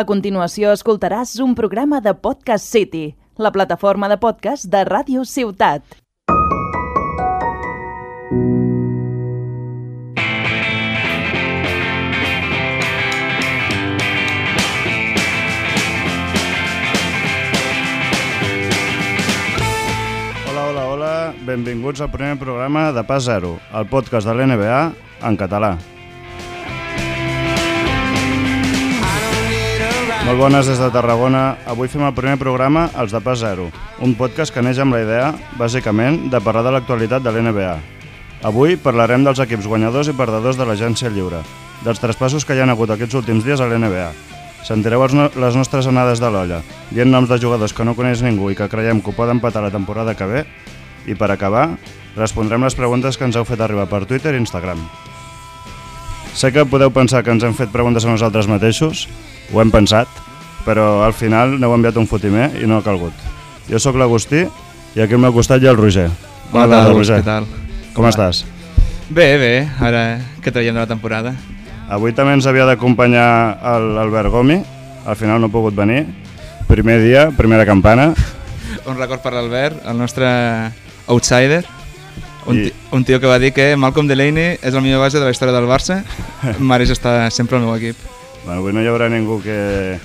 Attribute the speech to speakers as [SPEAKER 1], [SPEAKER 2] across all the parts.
[SPEAKER 1] A continuació escoltaràs un programa de Podcast City, la plataforma de podcast de Ràdio Ciutat.
[SPEAKER 2] Hola, hola, hola, benvinguts al primer programa de Pas Zero, el podcast de l'NBA en català. Molt bones des de Tarragona. Avui fem el primer programa Els de Pas Zero, un podcast que neix amb la idea, bàsicament, de parlar de l'actualitat de l'NBA. Avui parlarem dels equips guanyadors i perdedors de l'agència lliure, dels traspassos que hi han hagut aquests últims dies a l'NBA. Sentireu els no les nostres anades de l'olla, dient noms de jugadors que no coneix ningú i que creiem que ho poden patar la temporada que ve. I per acabar, respondrem les preguntes que ens heu fet arribar per Twitter i Instagram. Sé que podeu pensar que ens hem fet preguntes a nosaltres mateixos, ho hem pensat, però al final n'heu enviat un fotimer i no ha calgut. Jo sóc l'Agustí i aquí al meu costat hi ha el Roger.
[SPEAKER 3] Bona tarda, Gus, què tal?
[SPEAKER 2] Com estàs?
[SPEAKER 3] Bé, bé, ara que traiem de la temporada.
[SPEAKER 2] Avui també ens havia d'acompanyar el- l'Albert Gomi, al final no ha pogut venir. Primer dia, primera campana.
[SPEAKER 3] Un record per l'Albert, el nostre outsider, un,
[SPEAKER 2] I-
[SPEAKER 3] I... un tio que va dir que Malcolm Delaney és el millor base de la història del Barça, mereix estar sempre al meu equip.
[SPEAKER 2] Bueno, avui no hi haurà ningú que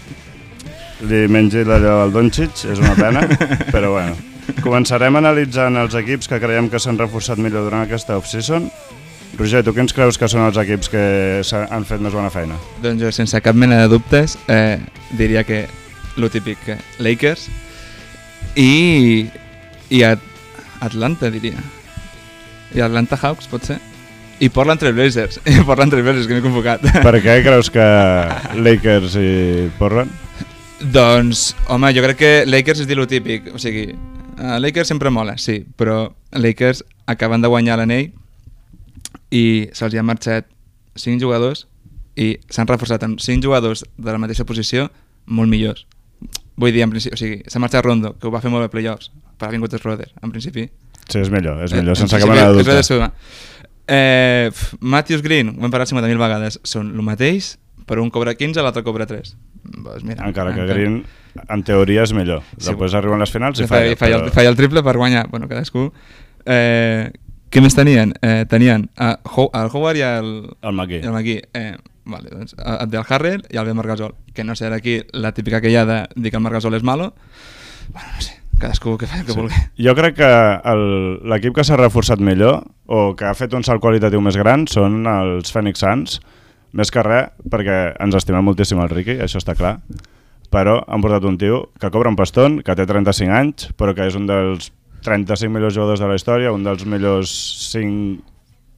[SPEAKER 2] li mengi d'allò al Doncic, és una pena, però bueno. Començarem analitzant els equips que creiem que s'han reforçat millor durant aquesta off-season. Roger, tu quins creus que són els equips que s'ha- han fet més bona feina?
[SPEAKER 3] Doncs jo, sense cap mena de dubtes, eh, diria que lo típic, eh, Lakers i, i At Atlanta, diria. I Atlanta Hawks, potser. I Portland Trail Blazers, i Portland Trail Blazers, que m'he convocat.
[SPEAKER 2] Per què creus que Lakers i Portland?
[SPEAKER 3] Doncs, home, jo crec que Lakers és dir lo típic. O sigui, eh, Lakers sempre mola, sí, però Lakers acaben de guanyar l'anell i se'ls hi han marxat 5 jugadors i s'han reforçat amb 5 jugadors de la mateixa posició molt millors. Vull dir, en principi, o sigui, s'ha marxat Rondo, que ho va fer molt bé a playoffs, però ha vingut Schroeder, en principi.
[SPEAKER 2] Sí, és millor, és millor,
[SPEAKER 3] Eh,
[SPEAKER 2] sense
[SPEAKER 3] en
[SPEAKER 2] cap
[SPEAKER 3] principi,
[SPEAKER 2] mena de
[SPEAKER 3] és la
[SPEAKER 2] dubte.
[SPEAKER 3] suma. Eh, pf, Matthews Green, ho hem parlat 50.000 vegades, són el mateix, però un cobra 15, l'altre cobra 3. Doncs mira,
[SPEAKER 2] Encara que Green, en teoria, és millor.
[SPEAKER 3] Sí.
[SPEAKER 2] Després arriben les finals i
[SPEAKER 3] Fa-
[SPEAKER 2] falla.
[SPEAKER 3] falla, el,
[SPEAKER 2] però-
[SPEAKER 3] falla el triple per guanyar, bueno, cadascú. Eh, què més tenien? Eh, tenien a Ho el Howard i el,
[SPEAKER 2] El Magui.
[SPEAKER 3] i el McGee. Eh, vale, doncs, a- Abdel Harrell i el Ben Margasol, que no sé, d'aquí la típica que hi ha de dir que el Margasol és malo. Bueno, no sé, cadascú que faci el que sí. vulgui.
[SPEAKER 2] Jo crec que el- l'equip que s'ha reforçat millor o que ha fet un salt qualitatiu més gran són els Phoenix Suns, més que res perquè ens estimem moltíssim el Ricky, això està clar, però han portat un tio que cobra un paston, que té 35 anys, però que és un dels 35 millors jugadors de la història, un dels millors 5,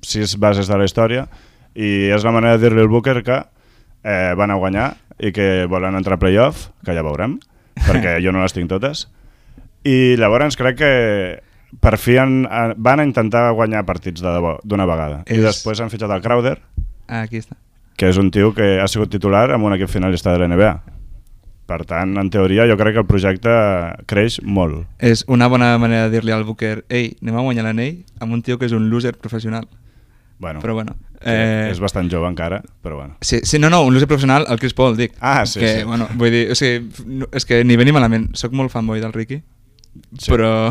[SPEAKER 2] 6 bases de la història, i és la manera de dir-li al Booker que eh, van a guanyar i que volen entrar a playoff, que ja veurem, perquè jo no les tinc totes, i llavors crec que per fi han, han- van a intentar guanyar partits de debò d'una vegada. I
[SPEAKER 3] És-
[SPEAKER 2] després han fitxat el Crowder,
[SPEAKER 3] Ah, aquí està.
[SPEAKER 2] que és un tio que ha sigut titular amb un equip finalista de la NBA. Per tant, en teoria, jo crec que el projecte creix molt.
[SPEAKER 3] És una bona manera de dir-li al Booker ei, anem a guanyar l'anell amb un tio que és un loser professional.
[SPEAKER 2] Bueno,
[SPEAKER 3] Però bueno,
[SPEAKER 2] eh...
[SPEAKER 3] eh,
[SPEAKER 2] És bastant jove encara, però bueno.
[SPEAKER 3] Sí, sí, no, no, un loser professional, el Chris Paul, dic.
[SPEAKER 2] Ah, sí,
[SPEAKER 3] que,
[SPEAKER 2] sí.
[SPEAKER 3] Bueno, vull dir, o sigui, no, és que ni bé ni malament, sóc molt fanboy del Ricky,
[SPEAKER 2] Sí.
[SPEAKER 3] sí. però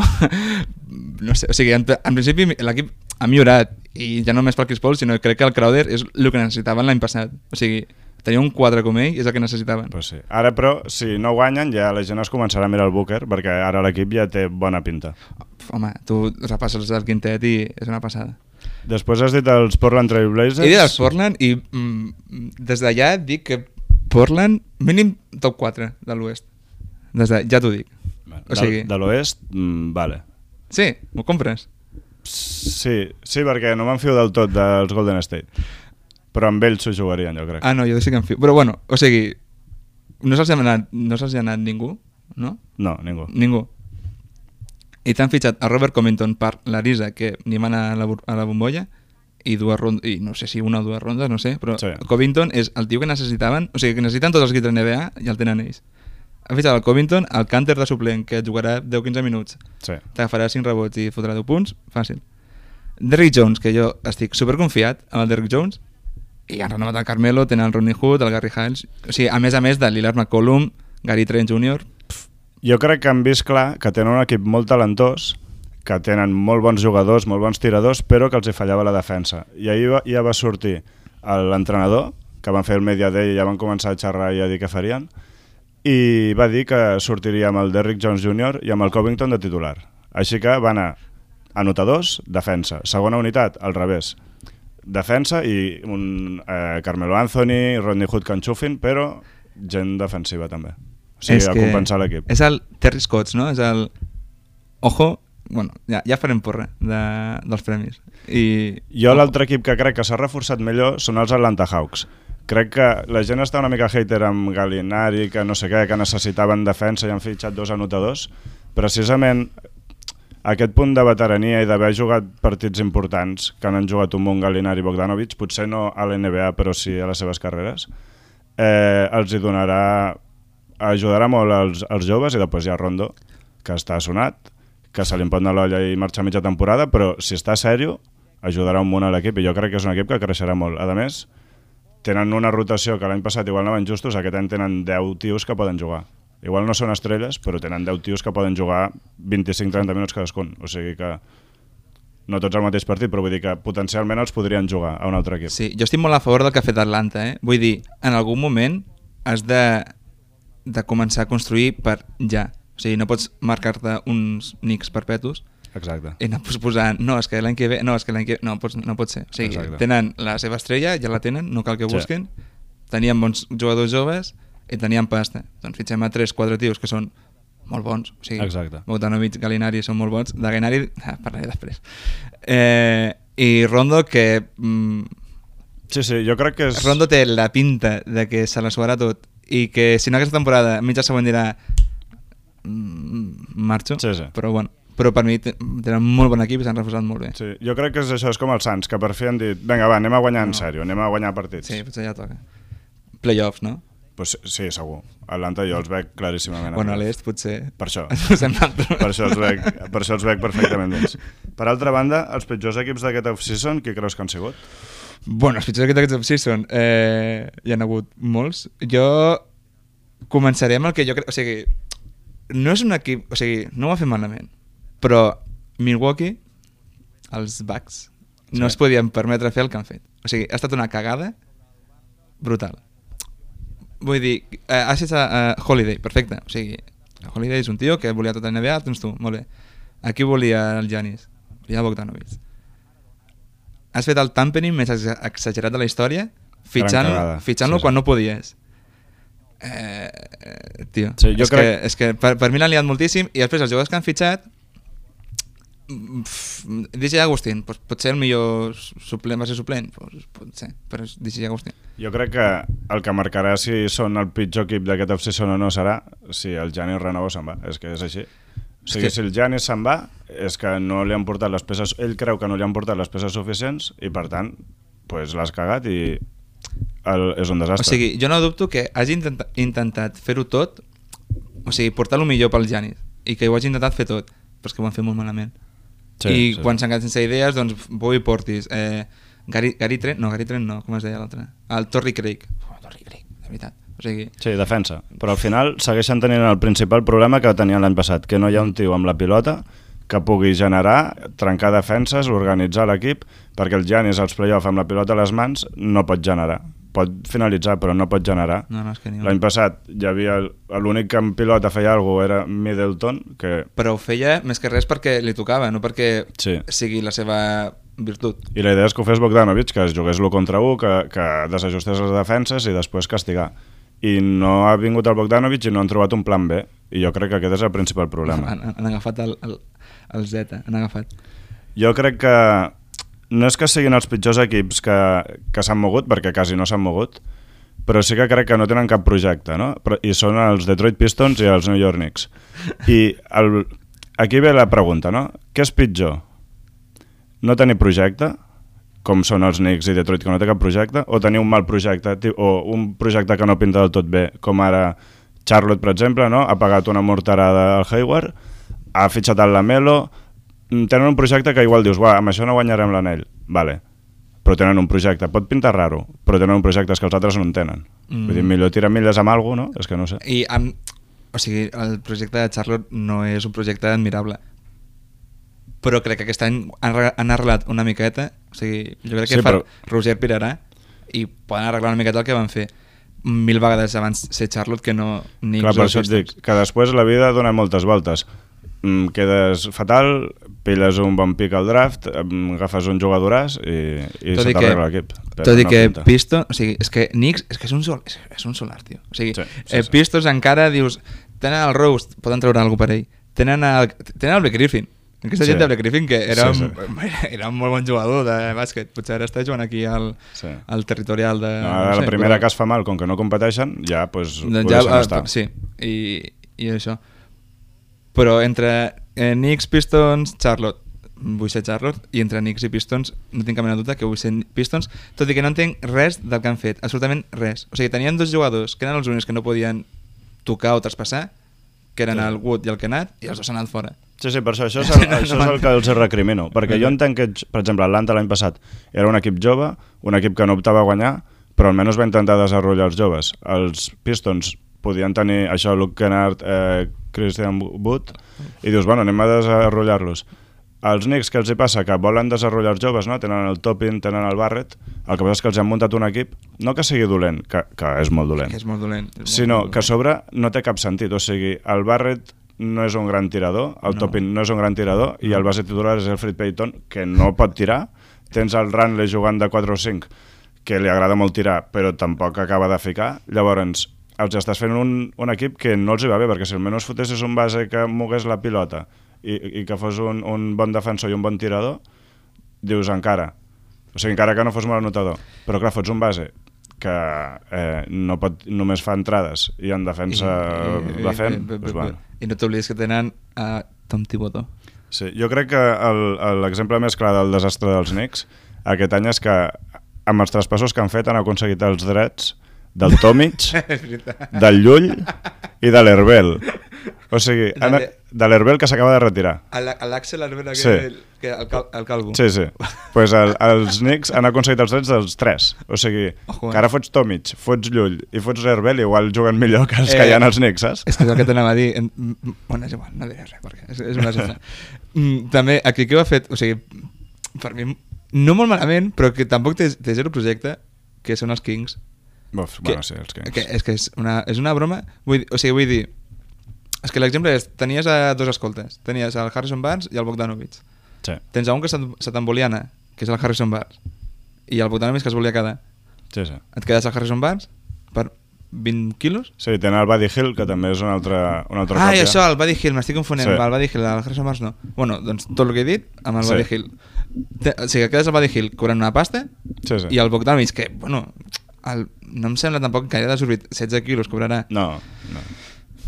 [SPEAKER 3] no sé, o sigui, en, en principi l'equip ha millorat, i ja no només pel Chris Paul, sinó que crec que el Crowder és el que necessitaven l'any passat. O sigui, tenia un quadre com ell i és el que necessitaven.
[SPEAKER 2] Però sí. Ara, però, si no guanyen, ja la gent es començarà a mirar el Booker, perquè ara l'equip ja té bona pinta.
[SPEAKER 3] Pf, Home, tu repasses el quintet i és una passada.
[SPEAKER 2] Després has dit els Portland Trail Blazers.
[SPEAKER 3] He dit els Portland i mm, des d'allà dic que Portland mínim top 4 de l'oest. Des de, ja t'ho dic.
[SPEAKER 2] Bueno,
[SPEAKER 3] O sigui-
[SPEAKER 2] de, de l'oest, mm, vale.
[SPEAKER 3] Sí, m'ho compres?
[SPEAKER 2] Sí, sí, perquè no m'enfio del tot dels Golden State. Però amb ells s'ho jugarien, jo crec.
[SPEAKER 3] Ah, no, jo sí que en fio. Però bueno, o sigui, no se'ls ha anat, no se'ls ha anat ningú, no?
[SPEAKER 2] No, ningú.
[SPEAKER 3] Ningú. I t'han fitxat a Robert Covington per l'Arisa, que ni van a la, bur- a la bombolla, i dues rondes, i no sé si una o dues rondes, no sé, però
[SPEAKER 2] Sí.
[SPEAKER 3] sí. Covington és el tio que necessitaven, o sigui, que necessiten tots els equips de NBA i el tenen ells. Han fitxat el Covington, el canter de suplent, que jugarà 10-15 minuts,
[SPEAKER 2] Sí.
[SPEAKER 3] t'agafarà 5 rebots i fotrà 10 punts, fàcil. Derrick Jones, que jo estic superconfiat amb el Derrick Jones, i han renovat el Carmelo, tenen el Rodney Hood, el Gary Hiles, o sigui, a més a més de Lillard McCollum, Gary Trent Jr.,
[SPEAKER 2] Jo crec que han vist clar que tenen un equip molt talentós, que tenen molt bons jugadors, molt bons tiradors, però que els hi fallava la defensa. I ahir va, ja va sortir l'entrenador, que van fer el media day i ja van començar a xerrar i a dir què farien, i va dir que sortiria amb el Derrick Jones Jr. i amb el Covington de titular. Així que van anar anotadors, defensa. Segona unitat, al revés. Defensa i un eh, Carmelo Anthony, Rodney Hood que enxufin, però gent defensiva també. O sigui, a compensar l'equip.
[SPEAKER 3] És el Terry Scotts, no? És el... Ojo, bueno, ja, ja farem porra de, dels premis. I...
[SPEAKER 2] Jo l'altre equip que crec que s'ha reforçat millor són els Atlanta Hawks. Crec que la gent està una mica hater amb Galinari, que no sé què, que necessitaven defensa i han fitxat dos anotadors. Precisament aquest punt de veterania i d'haver jugat partits importants, que n'han jugat un bon Galinari i Bogdanovic, potser no a l'NBA però sí a les seves carreres, eh, els hi donarà ajudarà molt als, als joves i després hi ha Rondo, que està sonat, que se li empot a l'olla i marxa mitja temporada, però si està sèrio, ajudarà un munt a l'equip i jo crec que és un equip que creixerà molt. A més, tenen una rotació que l'any passat igual anaven justos, aquest any tenen 10 tios que poden jugar. Igual no són estrelles, però tenen 10 tios que poden jugar 25-30 minuts cadascun. O sigui que no tots al mateix partit, però vull dir que potencialment els podrien jugar a un altre equip.
[SPEAKER 3] Sí, jo estic molt a favor del que ha fet Atlanta, eh? Vull dir, en algun moment has de, de començar a construir per ja. O sigui, no pots marcar-te uns nics perpetus
[SPEAKER 2] Exacte.
[SPEAKER 3] i anar pues, posant, no, és que l'any que ve, no, és que l'any que no, pots, no pot ser. O sigui,
[SPEAKER 2] Exacte.
[SPEAKER 3] Exacte. tenen la seva estrella, ja la tenen, no cal que
[SPEAKER 2] Sí.
[SPEAKER 3] busquen, tenien bons jugadors joves i tenien pasta. Doncs fitxem a 3-4 tios que són molt bons. O sigui,
[SPEAKER 2] Exacte.
[SPEAKER 3] Bogdanovic, Galinari són molt bons. De Galinari, ah, parlaré després. Eh, I Rondo, que mm,
[SPEAKER 2] Sí, sí, jo crec que és...
[SPEAKER 3] Rondo té la pinta de que se la jugarà tot i que si no aquesta temporada mitja següent dirà "Mm, marxo,
[SPEAKER 2] Sí, sí.
[SPEAKER 3] però bueno però per mi te- tenen molt bon equip i s'han reforçat molt bé
[SPEAKER 2] Sí, jo crec que és això, és com els Sants, que per fi han dit, vinga, va, anem a guanyar en sèrio, anem a guanyar partits.
[SPEAKER 3] sí potser ja toca playoffs, no?
[SPEAKER 2] Pues, sí, segur. Atlanta jo els veig claríssimament.
[SPEAKER 3] bueno, a l'est potser
[SPEAKER 2] Per això.
[SPEAKER 3] Posem l'altre.
[SPEAKER 2] Per això, els veig, per això els veig perfectament dins. Per altra banda, els pitjors equips d'aquest off-season, qui creus que han sigut?
[SPEAKER 3] Bueno, els pitjors d'aquests off-season eh, hi han hagut molts. Jo començaré amb el que jo crec... O sigui, no és un equip... O sigui, no ho ha fet malament, però Milwaukee, els Bucks, no
[SPEAKER 2] Sí.
[SPEAKER 3] es podien permetre fer el que han fet. O sigui, ha estat una cagada brutal. Vull dir, eh, has fet a, a Holiday, perfecte. O sigui, Holiday és un tio que volia tot el NBA, tens doncs tu, molt bé. Aquí volia el Giannis, volia Bogdanovic. Has fet el tampering més exa- exagerat de la història,
[SPEAKER 2] cagada.
[SPEAKER 3] fitxant-lo fitxant
[SPEAKER 2] Sí, sí.
[SPEAKER 3] quan no podies. Eh, eh, tio,
[SPEAKER 2] Sí, jo
[SPEAKER 3] és,
[SPEAKER 2] crec-
[SPEAKER 3] que, és que per, per mi l'han liat moltíssim i després els jugadors que han fitxat mm, pf, DJ Agustín, doncs, potser el millor suplent va ser suplent, doncs, potser, però és DJ Agustín.
[SPEAKER 2] Jo crec que el que marcarà si són el pitjor equip d'aquest off-season o no serà si el Giannis Renova se'n va. És que és així. O sigui,
[SPEAKER 3] que-
[SPEAKER 2] si el Giannis se'n va, és que no li han portat les peces... Ell creu que no li han portat les peces suficients i, per tant, pues, l'has cagat i el, és un
[SPEAKER 3] O
[SPEAKER 2] desastre.
[SPEAKER 3] sigui, jo no dubto que hagi intenta intentat fer-ho tot, o sigui, portar lo millor pel Janis, i que ho hagi intentat fer tot, però és que ho han fet molt malament. Sí, I sí, quan s'han quedat sense idees, doncs Bobby Portis, eh, Gary, Gary Trent, no, Gary Trent no, com es deia l'altre? El Torrey Craig. Oh, Torrey Craig, de veritat. O sigui,
[SPEAKER 2] Sí, defensa. Però al final segueixen tenint el principal problema que tenien l'any passat, que no hi ha un tio amb la pilota que pugui generar, trencar defenses, organitzar l'equip, perquè el Giannis als play-off amb la pilota a les mans no pot generar. Pot finalitzar, però no pot generar.
[SPEAKER 3] no, no, és que ni
[SPEAKER 2] L'any
[SPEAKER 3] un.
[SPEAKER 2] passat hi havia... el- L'únic que amb pilota feia alguna cosa era Middleton, que...
[SPEAKER 3] Però ho feia més que res perquè li tocava, no perquè
[SPEAKER 2] Sí.
[SPEAKER 3] sigui la seva virtut.
[SPEAKER 2] I la idea és que ho fes Bogdanovic, que es jugués l'1 contra 1, que, que desajustés les defenses i després castigar. I no ha vingut el Bogdanovic i no han trobat un plan B. I jo crec que aquest és el principal problema.
[SPEAKER 3] Han, han agafat el, el, el Z, han agafat.
[SPEAKER 2] Jo crec que no és que siguin els pitjors equips que, que s'han mogut, perquè quasi no s'han mogut, però sí que crec que no tenen cap projecte, no? Però, I són els Detroit Pistons i els New York Knicks. I el, aquí ve la pregunta, no? Què és pitjor? No tenir projecte, com són els Knicks i Detroit, que no té cap projecte, o tenir un mal projecte, ti- o un projecte que no pinta del tot bé, com ara Charlotte, per exemple, no? ha pagat una morterada al Hayward, ha fitxat el Lamelo, mm, tenen un projecte que igual dius, "Buah, amb això no guanyarem l'anell. Vale. però tenen un projecte. Pot pintar raro, però tenen un projecte és que els altres no en tenen. Mm. Vull dir, millor tirar milles amb alguna no? És que no sé.
[SPEAKER 3] I amb, o sigui, el projecte de Charlotte no és un projecte admirable però crec que aquest any han, arre- han arreglat una miqueta o sigui, jo crec que
[SPEAKER 2] Sí,
[SPEAKER 3] sí, però...
[SPEAKER 2] però-
[SPEAKER 3] Roger Pirarà i poden arreglar una miqueta el que van fer mil vegades abans ser Charlotte que no ni
[SPEAKER 2] Clar, per
[SPEAKER 3] Xavier
[SPEAKER 2] això et
[SPEAKER 3] Sostres.
[SPEAKER 2] dic, que després la vida dona moltes voltes. Mm, quedes fatal, pilles un bon pic al draft, mm, agafes un jugadoràs i, i
[SPEAKER 3] Tot
[SPEAKER 2] se
[SPEAKER 3] i que-
[SPEAKER 2] t'arregla l'equip. Però
[SPEAKER 3] Tot i
[SPEAKER 2] no
[SPEAKER 3] que
[SPEAKER 2] pinta.
[SPEAKER 3] Pisto, o sigui, és que Knicks, és que és un, sol, és, és un solar, tio. O sigui,
[SPEAKER 2] Sí,
[SPEAKER 3] sí,
[SPEAKER 2] sí,
[SPEAKER 3] sí, eh,
[SPEAKER 2] sí.
[SPEAKER 3] Pistos encara dius, tenen el Rose, poden treure algú per ell, tenen el, tenen el Blake Griffin, aquesta
[SPEAKER 2] Sí.
[SPEAKER 3] sí. gent de Blake Griffin que era,
[SPEAKER 2] Sí,
[SPEAKER 3] sí, sí. era un molt bon jugador de bàsquet, potser ara està jugant aquí al,
[SPEAKER 2] Sí.
[SPEAKER 3] sí. al territorial de...
[SPEAKER 2] No, ara la primera que es fa mal, com que no competeixen, ja, doncs,
[SPEAKER 3] doncs ja,
[SPEAKER 2] ja,
[SPEAKER 3] ah,
[SPEAKER 2] estar.
[SPEAKER 3] sí, i, i això. Però entre eh, Knicks, Pistons, Charlotte, vull ser Charlotte, i entre Knicks i Pistons no tinc cap mena de dubte que vull ser Pistons, tot i que no entenc res del que han fet, absolutament res. O sigui, tenien dos jugadors que eren els únics que no podien tocar o traspassar, que eren
[SPEAKER 2] Sí.
[SPEAKER 3] el Wood i el Kennard, i els dos han anat fora.
[SPEAKER 2] Sí, sí, per això, això, és el, això és el que els recrimino. Perquè jo entenc que, per exemple, l'Atlanta l'any passat era un equip jove, un equip que no optava a guanyar, però almenys va intentar desenvolupar els joves. Els Pistons podien tenir això, Luke Kennard, eh, Christian Wood, i dius, bueno, anem a desenvolupar-los. Els Knicks, què els hi passa? Que volen desenvolupar els joves, no? Tenen el Topin, tenen el Barrett, el que passa és que els han muntat un equip, no que sigui dolent, que, que és molt dolent,
[SPEAKER 3] Que és molt dolent. és molt,
[SPEAKER 2] sinó
[SPEAKER 3] molt
[SPEAKER 2] que a
[SPEAKER 3] dolent.
[SPEAKER 2] sobre no té cap sentit. O sigui, el Barrett no és un gran tirador, el no.
[SPEAKER 3] No.
[SPEAKER 2] Topin no és un gran tirador i el base titular és el Fred Payton, que no pot tirar. Tens el Ranley jugant de 4 o 5, que li agrada molt tirar, però tampoc acaba de ficar. Llavors, els estàs fent un, un equip que no els hi va bé, perquè si almenys fotessis un base que mogués la pilota i, i que fos un, un bon defensor i un bon tirador, dius encara. O sigui, encara que no fos molt anotador. Però clar, fots un base que eh, no pot, només fa entrades i en defensa I, va fent,
[SPEAKER 3] i- i-
[SPEAKER 2] doncs bueno.
[SPEAKER 3] I no t'oblidis que tenen a Tom Thibodeau.
[SPEAKER 2] Sí, jo crec que el- el- l'exemple més clar del desastre dels Knicks aquest any és que amb els traspassos que han fet han aconseguit els drets del Tomic,
[SPEAKER 3] És veritat.
[SPEAKER 2] del Llull i de l'Herbel. O sigui, han,
[SPEAKER 3] De-
[SPEAKER 2] de l'Herbel que s'acaba de retirar.
[SPEAKER 3] A la- a l'Axel Arbera, que,
[SPEAKER 2] Sí.
[SPEAKER 3] sí. que el, cal, el calvo.
[SPEAKER 2] Sí, sí. pues el, els Knicks han aconseguit els drets dels tres. O sigui,
[SPEAKER 3] Ojo, eh?
[SPEAKER 2] que ara fots Tomic, fots Llull i fots Herbel, igual juguen millor que els que
[SPEAKER 3] Eh,
[SPEAKER 2] hi ha als Knicks, saps?
[SPEAKER 3] És que és el que t'anava a dir. En- mm, Bueno, és igual, no diré res, perquè és, és una zona. També, aquí que ho ha fet, o sigui, per mi, no molt malament, però que tampoc té, té zero projecte, que són els Kings.
[SPEAKER 2] Uf,
[SPEAKER 3] Que,
[SPEAKER 2] bueno, sí, els Knicks.
[SPEAKER 3] Que, és que és una, és una broma. Vull, dir- o sigui, vull dir, és que l'exemple és, tenies a dos escoltes, tenies el Harrison Barnes i el Bogdanovic.
[SPEAKER 2] Sí.
[SPEAKER 3] Tens a un que se se te'n volia anar, que és el Harrison Barnes, i el Bogdanovic que es volia quedar.
[SPEAKER 2] sí, sí.
[SPEAKER 3] Et quedes al Harrison Barnes per 20 quilos?
[SPEAKER 2] Sí, tenen el Buddy Hill, que també és una altra, una altra
[SPEAKER 3] Ah, i
[SPEAKER 2] còpia.
[SPEAKER 3] això, el Buddy Hill, m'estic confonent.
[SPEAKER 2] Sí.
[SPEAKER 3] Sí. El Buddy Hill, el Harrison Barnes no. Bueno, doncs tot el que he dit amb el
[SPEAKER 2] Sí.
[SPEAKER 3] sí. Buddy Hill. Te, o sigui, quedes el Buddy Hill cobrant una pasta
[SPEAKER 2] Sí, sí.
[SPEAKER 3] i el Bogdanovich, que, bueno, el, no em sembla tampoc que hagi desorbit 16 quilos cobrarà. No.
[SPEAKER 2] No, no.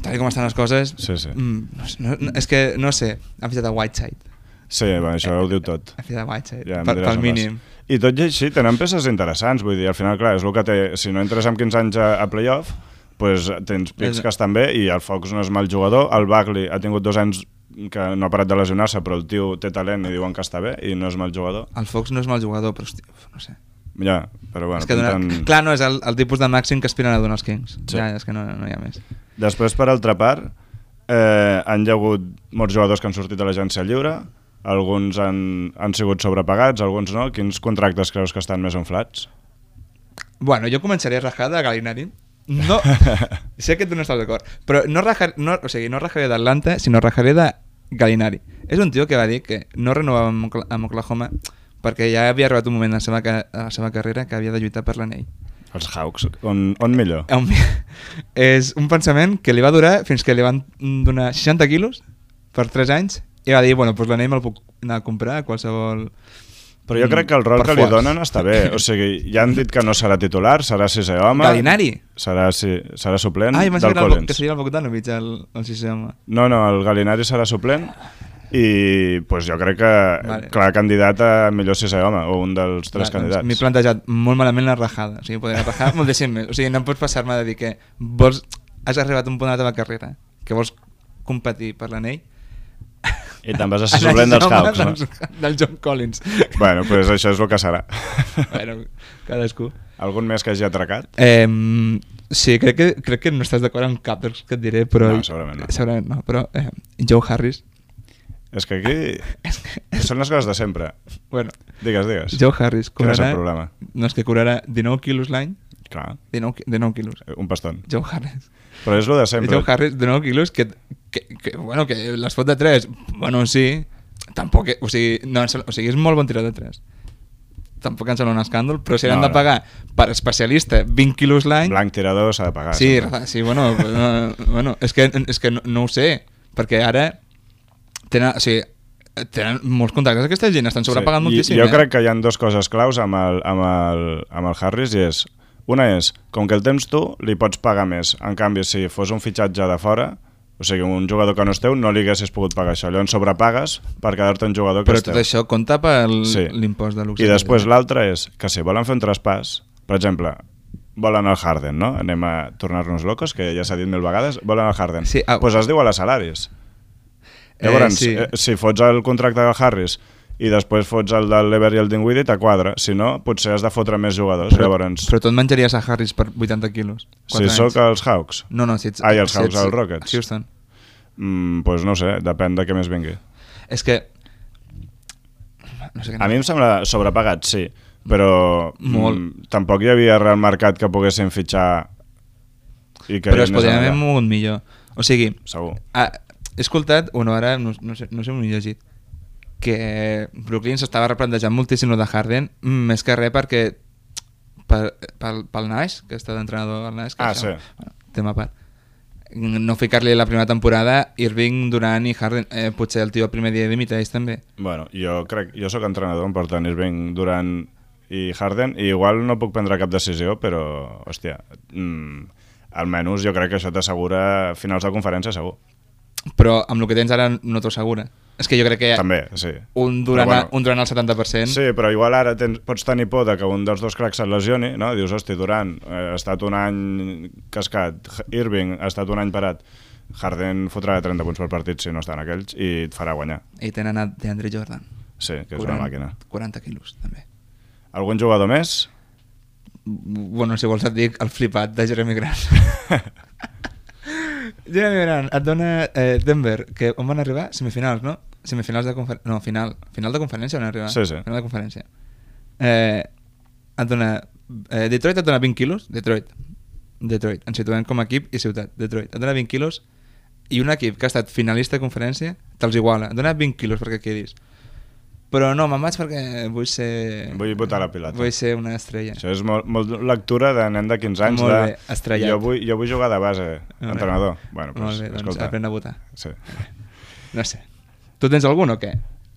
[SPEAKER 3] Tal i com estan les coses,
[SPEAKER 2] Sí, sí.
[SPEAKER 3] mm, no, sé, no, no, és que no sé, han fitat a Whiteside.
[SPEAKER 2] Sí, va, això ho diu tot.
[SPEAKER 3] Han fitat a Whiteside,
[SPEAKER 2] Ja
[SPEAKER 3] ja,
[SPEAKER 2] em
[SPEAKER 3] pel,
[SPEAKER 2] diràs
[SPEAKER 3] pel
[SPEAKER 2] on
[SPEAKER 3] mínim.
[SPEAKER 2] vas. I tot i així, tenen peces interessants, vull dir, al final, clar, és el que té, si no entres amb 15 anys a, a playoff, pues, tens pics
[SPEAKER 3] És-
[SPEAKER 2] que estan bé i el Fox no és mal jugador, el Bagley ha tingut dos anys que no ha parat de lesionar-se, però el tio té talent i diuen que està bé i no és mal jugador.
[SPEAKER 3] El Fox no és mal jugador, però hosti, uf, no sé.
[SPEAKER 2] Ja, però bueno,
[SPEAKER 3] és que donar,
[SPEAKER 2] pinten-
[SPEAKER 3] Clar, no, és el, el tipus de màxim que aspiren a donar els Kings.
[SPEAKER 2] Sí.
[SPEAKER 3] Sí. Ja, és que no, no hi ha més.
[SPEAKER 2] Després, per altra part, eh, han hi ha hagut molts jugadors que han sortit a l'agència lliure, alguns han, han sigut sobrepagats, alguns no. Quins contractes creus que estan més inflats?
[SPEAKER 3] Bueno, jo començaria a rajar de Gallinari. No, sé que tu no estàs d'acord, però no, rajar, no, o sigui, no rajaré d'Atlanta, sinó rajaré de Gallinari. És un tio que va dir que no renovava amb Ocla- amb Oklahoma perquè ja havia arribat un moment en la seva, ca- a la seva carrera que havia de lluitar per l'anell.
[SPEAKER 2] Els Hawks. On, on millor?
[SPEAKER 3] Em- És un pensament que li va durar fins que li van donar 60 quilos per 3 anys i va dir, bueno, doncs l'anell me'l puc anar a comprar a qualsevol...
[SPEAKER 2] Però jo crec que el rol que li donen està bé. O sigui, ja han dit que no serà titular, serà sisè home.
[SPEAKER 3] Gallinari?
[SPEAKER 2] Serà, si, serà suplent
[SPEAKER 3] Ai,
[SPEAKER 2] del
[SPEAKER 3] pensava Ah, que, era el Bo- que
[SPEAKER 2] Collins.
[SPEAKER 3] seria el Bogdanovic, el, el sisè home.
[SPEAKER 2] No, no, el Galinari serà suplent i pues, jo crec que, vale.
[SPEAKER 3] Vale.
[SPEAKER 2] clar, candidat a millor sisè home o un dels tres
[SPEAKER 3] Clar,
[SPEAKER 2] candidats.
[SPEAKER 3] Doncs M'he plantejat molt malament la rajada. O sigui, podria rajar moltíssim més. O sigui, no em pots passar-me de dir que vols, has arribat a un punt de la teva carrera que vols competir per l'anell
[SPEAKER 4] I te'n vas a
[SPEAKER 3] Ah,
[SPEAKER 4] ser suplent dels
[SPEAKER 3] Anant
[SPEAKER 4] Hawks,
[SPEAKER 3] jove
[SPEAKER 4] no?
[SPEAKER 3] dels- Del John Collins.
[SPEAKER 2] Bueno, doncs pues això és el que serà.
[SPEAKER 3] bueno, cadascú.
[SPEAKER 2] Algun més que hagi atracat?
[SPEAKER 3] Eh, sí, crec que, crec que no estàs d'acord amb cap dels que et diré, però...
[SPEAKER 2] No, segurament no.
[SPEAKER 3] Segurament no, però eh, Joe Harris...
[SPEAKER 2] És que aquí són les coses de sempre.
[SPEAKER 3] Bueno,
[SPEAKER 2] Digues, digues.
[SPEAKER 3] Joe Harris
[SPEAKER 2] Quin
[SPEAKER 3] cobrarà...
[SPEAKER 2] és el problema?
[SPEAKER 3] No, és que cobrarà 19 quilos l'any.
[SPEAKER 2] Clar,
[SPEAKER 3] 19, qui- 19 quilos.
[SPEAKER 2] un paston.
[SPEAKER 3] Joe Harris.
[SPEAKER 2] Però és el de sempre.
[SPEAKER 3] Joe Harris, 19 quilos, que, que, que, bueno, que les fot de 3. Bueno, sí. Tampoc... O sigui, no, ens- o sigui és molt bon tirador de 3. Tampoc ens sembla un escàndol, però si
[SPEAKER 2] No,
[SPEAKER 3] l'han de
[SPEAKER 2] no.
[SPEAKER 3] pagar per especialista 20 quilos l'any...
[SPEAKER 2] Blanc tirador s'ha de pagar.
[SPEAKER 3] Sí,
[SPEAKER 2] sempre.
[SPEAKER 3] ra- sí bueno, no, bueno, és que, és que no, no ho sé, perquè ara tenen, o sigui, tenen molts contactes aquesta gent, estan sobrepagant
[SPEAKER 2] I
[SPEAKER 3] moltíssim.
[SPEAKER 2] Jo
[SPEAKER 3] eh?
[SPEAKER 2] crec que hi han dues coses claus amb el, amb el, amb el Harris i és, una és, com que el tens tu, li pots pagar més. En canvi, si fos un fitxatge de fora, o sigui, un jugador que no és teu, no li haguessis pogut pagar això. Llavors sobrepagues per quedar-te un jugador que
[SPEAKER 3] Però
[SPEAKER 2] és
[SPEAKER 3] tot
[SPEAKER 2] teu.
[SPEAKER 3] això compta per
[SPEAKER 2] Sí.
[SPEAKER 3] l'impost de eh? luxe.
[SPEAKER 2] I després l'altra és que si volen fer un traspàs, per exemple, volen el Harden, no? Anem a tornar-nos locos, que ja s'ha dit mil vegades, volen el Harden.
[SPEAKER 3] Sí, ah.
[SPEAKER 2] pues es diu a les salaris.
[SPEAKER 3] Eh,
[SPEAKER 2] Llavors,
[SPEAKER 3] sí.
[SPEAKER 2] eh, si fots el contracte del Harris i després fots el del Lever i el Dinwiddie, t'aquadra. Si no, potser has de fotre més jugadors.
[SPEAKER 3] Però,
[SPEAKER 2] Llavors,
[SPEAKER 3] però tu et menjaries a Harris per 80 quilos.
[SPEAKER 2] si sóc els Hawks,
[SPEAKER 3] No, no, si ets...
[SPEAKER 2] Ai, els
[SPEAKER 3] si ets
[SPEAKER 2] Hawks, els Rockets.
[SPEAKER 3] Houston.
[SPEAKER 2] mm, pues no ho sé, depèn de què més vingui.
[SPEAKER 3] És que... No sé què
[SPEAKER 2] A mi em sembla sobrepagat, sí, però
[SPEAKER 3] Molt.
[SPEAKER 2] mm, tampoc hi havia real mercat que poguessin fitxar i que
[SPEAKER 3] Però es
[SPEAKER 2] anés
[SPEAKER 3] podria haver
[SPEAKER 2] allà.
[SPEAKER 3] mogut millor. O sigui,
[SPEAKER 2] Segur.
[SPEAKER 3] Ah, he escoltat, o no, ara no, no sé, no sé on ho he llegit, que Brooklyn s'estava replantejant moltíssim el de Harden, mm, més que res perquè per, pel, pel Nash, que està d'entrenador al Nash, que
[SPEAKER 2] Ah,
[SPEAKER 3] això,
[SPEAKER 2] sí.
[SPEAKER 3] bueno, tema a part, no ficar-li la primera temporada Irving, Durant i Harden eh, potser el tio el primer dia dimiteix també
[SPEAKER 2] Bueno, jo crec, jo sóc entrenador, per tant, Irving, Durant i Harden, i igual no puc prendre cap decisió, però, hòstia, mm, almenys jo crec que això t'assegura finals de conferència, segur.
[SPEAKER 3] però amb el que tens ara no t'ho assegura és que jo crec que
[SPEAKER 2] També, sí.
[SPEAKER 3] un Durant,
[SPEAKER 2] Però bueno.
[SPEAKER 3] un Durant al 70%
[SPEAKER 2] Sí, però igual ara tens, pots tenir por de que un dels dos cracs et lesioni, no? Dius, hosti, Durant eh, ha estat un any cascat, H- Irving ha estat un any parat, Harden fotrà 30 punts per partit si no estan aquells i et farà guanyar.
[SPEAKER 3] i tenen a DeAndre Jordan
[SPEAKER 2] Sí, que és una màquina.
[SPEAKER 3] 40 quilos també
[SPEAKER 2] Algun jugador més?
[SPEAKER 3] bueno, si vols et dic el flipat de Jeremy Grant Jeremy Grant et dona eh, Denver, que on van arribar? Semifinals, no? Semifinals de conferència no, final, final de conferència van arribar
[SPEAKER 2] Sí, sí.
[SPEAKER 3] final de conferència eh, et dona eh, Detroit et dona 20 quilos Detroit, Detroit, ens situem com a equip i ciutat, Detroit, et dona 20 quilos i un equip que ha estat finalista de conferència te'ls iguala, et dona 20 quilos perquè quedis però no, me'n vaig perquè vull ser...
[SPEAKER 2] Vull botar la pilota.
[SPEAKER 3] Vull ser una estrella.
[SPEAKER 2] Això és molt, molt lectura de nen de 15 anys.
[SPEAKER 3] Molt
[SPEAKER 2] de...
[SPEAKER 3] bé, estrellat.
[SPEAKER 2] Jo vull, jo vull jugar de base,
[SPEAKER 3] Molt bé.
[SPEAKER 2] entrenador. Bueno, doncs,
[SPEAKER 3] Molt bé, doncs
[SPEAKER 2] escolta.
[SPEAKER 3] aprèn a votar.
[SPEAKER 2] Sí.
[SPEAKER 3] No sé. Tu tens algun o què?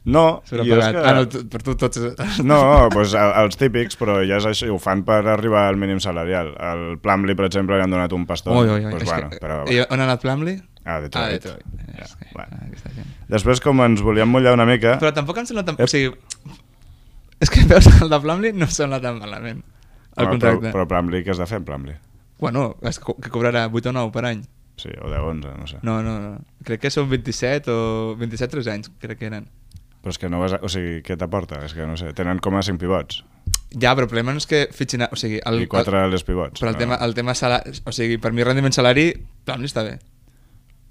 [SPEAKER 2] No, jo és
[SPEAKER 3] Sobrepagat.
[SPEAKER 2] que...
[SPEAKER 3] Ah, no, tu, per tu tots...
[SPEAKER 2] No, doncs el- els típics, però ja és això, ho fan per arribar al mínim salarial. Al Plumlee, per exemple, li han donat un pastor.
[SPEAKER 3] Ui, ui, ui.
[SPEAKER 2] Doncs,
[SPEAKER 3] és
[SPEAKER 2] bueno,
[SPEAKER 3] que- eh,
[SPEAKER 2] però...
[SPEAKER 3] I on ha anat Plumlee?
[SPEAKER 2] Ah, Detroit.
[SPEAKER 3] Ah, Detroit.
[SPEAKER 2] Ja,
[SPEAKER 3] És que-
[SPEAKER 2] bueno.
[SPEAKER 3] ah, aquesta gent.
[SPEAKER 2] Després, com ens volíem mullar una mica...
[SPEAKER 3] Però tampoc em sembla tan...
[SPEAKER 2] Eh?
[SPEAKER 3] O sigui, és que veus el de Plumlee no em sembla tan malament. El
[SPEAKER 2] Home,
[SPEAKER 3] contracte.
[SPEAKER 2] Però, però Plumlee, què has de fer amb Plumlee?
[SPEAKER 3] Bueno, es co- que cobrarà 8 o 9 per any.
[SPEAKER 2] Sí, o de 11, no sé.
[SPEAKER 3] No, no, no. Crec que són 27 o 27 3 anys, crec que eren.
[SPEAKER 2] Però és que no vas... A... O sigui, què t'aporta? És que no sé, tenen com a 5 pivots.
[SPEAKER 3] Ja, però el problema no és que fitxin... a- O sigui, el,
[SPEAKER 2] I 4 a les pivots.
[SPEAKER 3] Però el
[SPEAKER 2] no?
[SPEAKER 3] tema, el tema salari, o sigui, per mi rendiment salari, Plumlee està bé.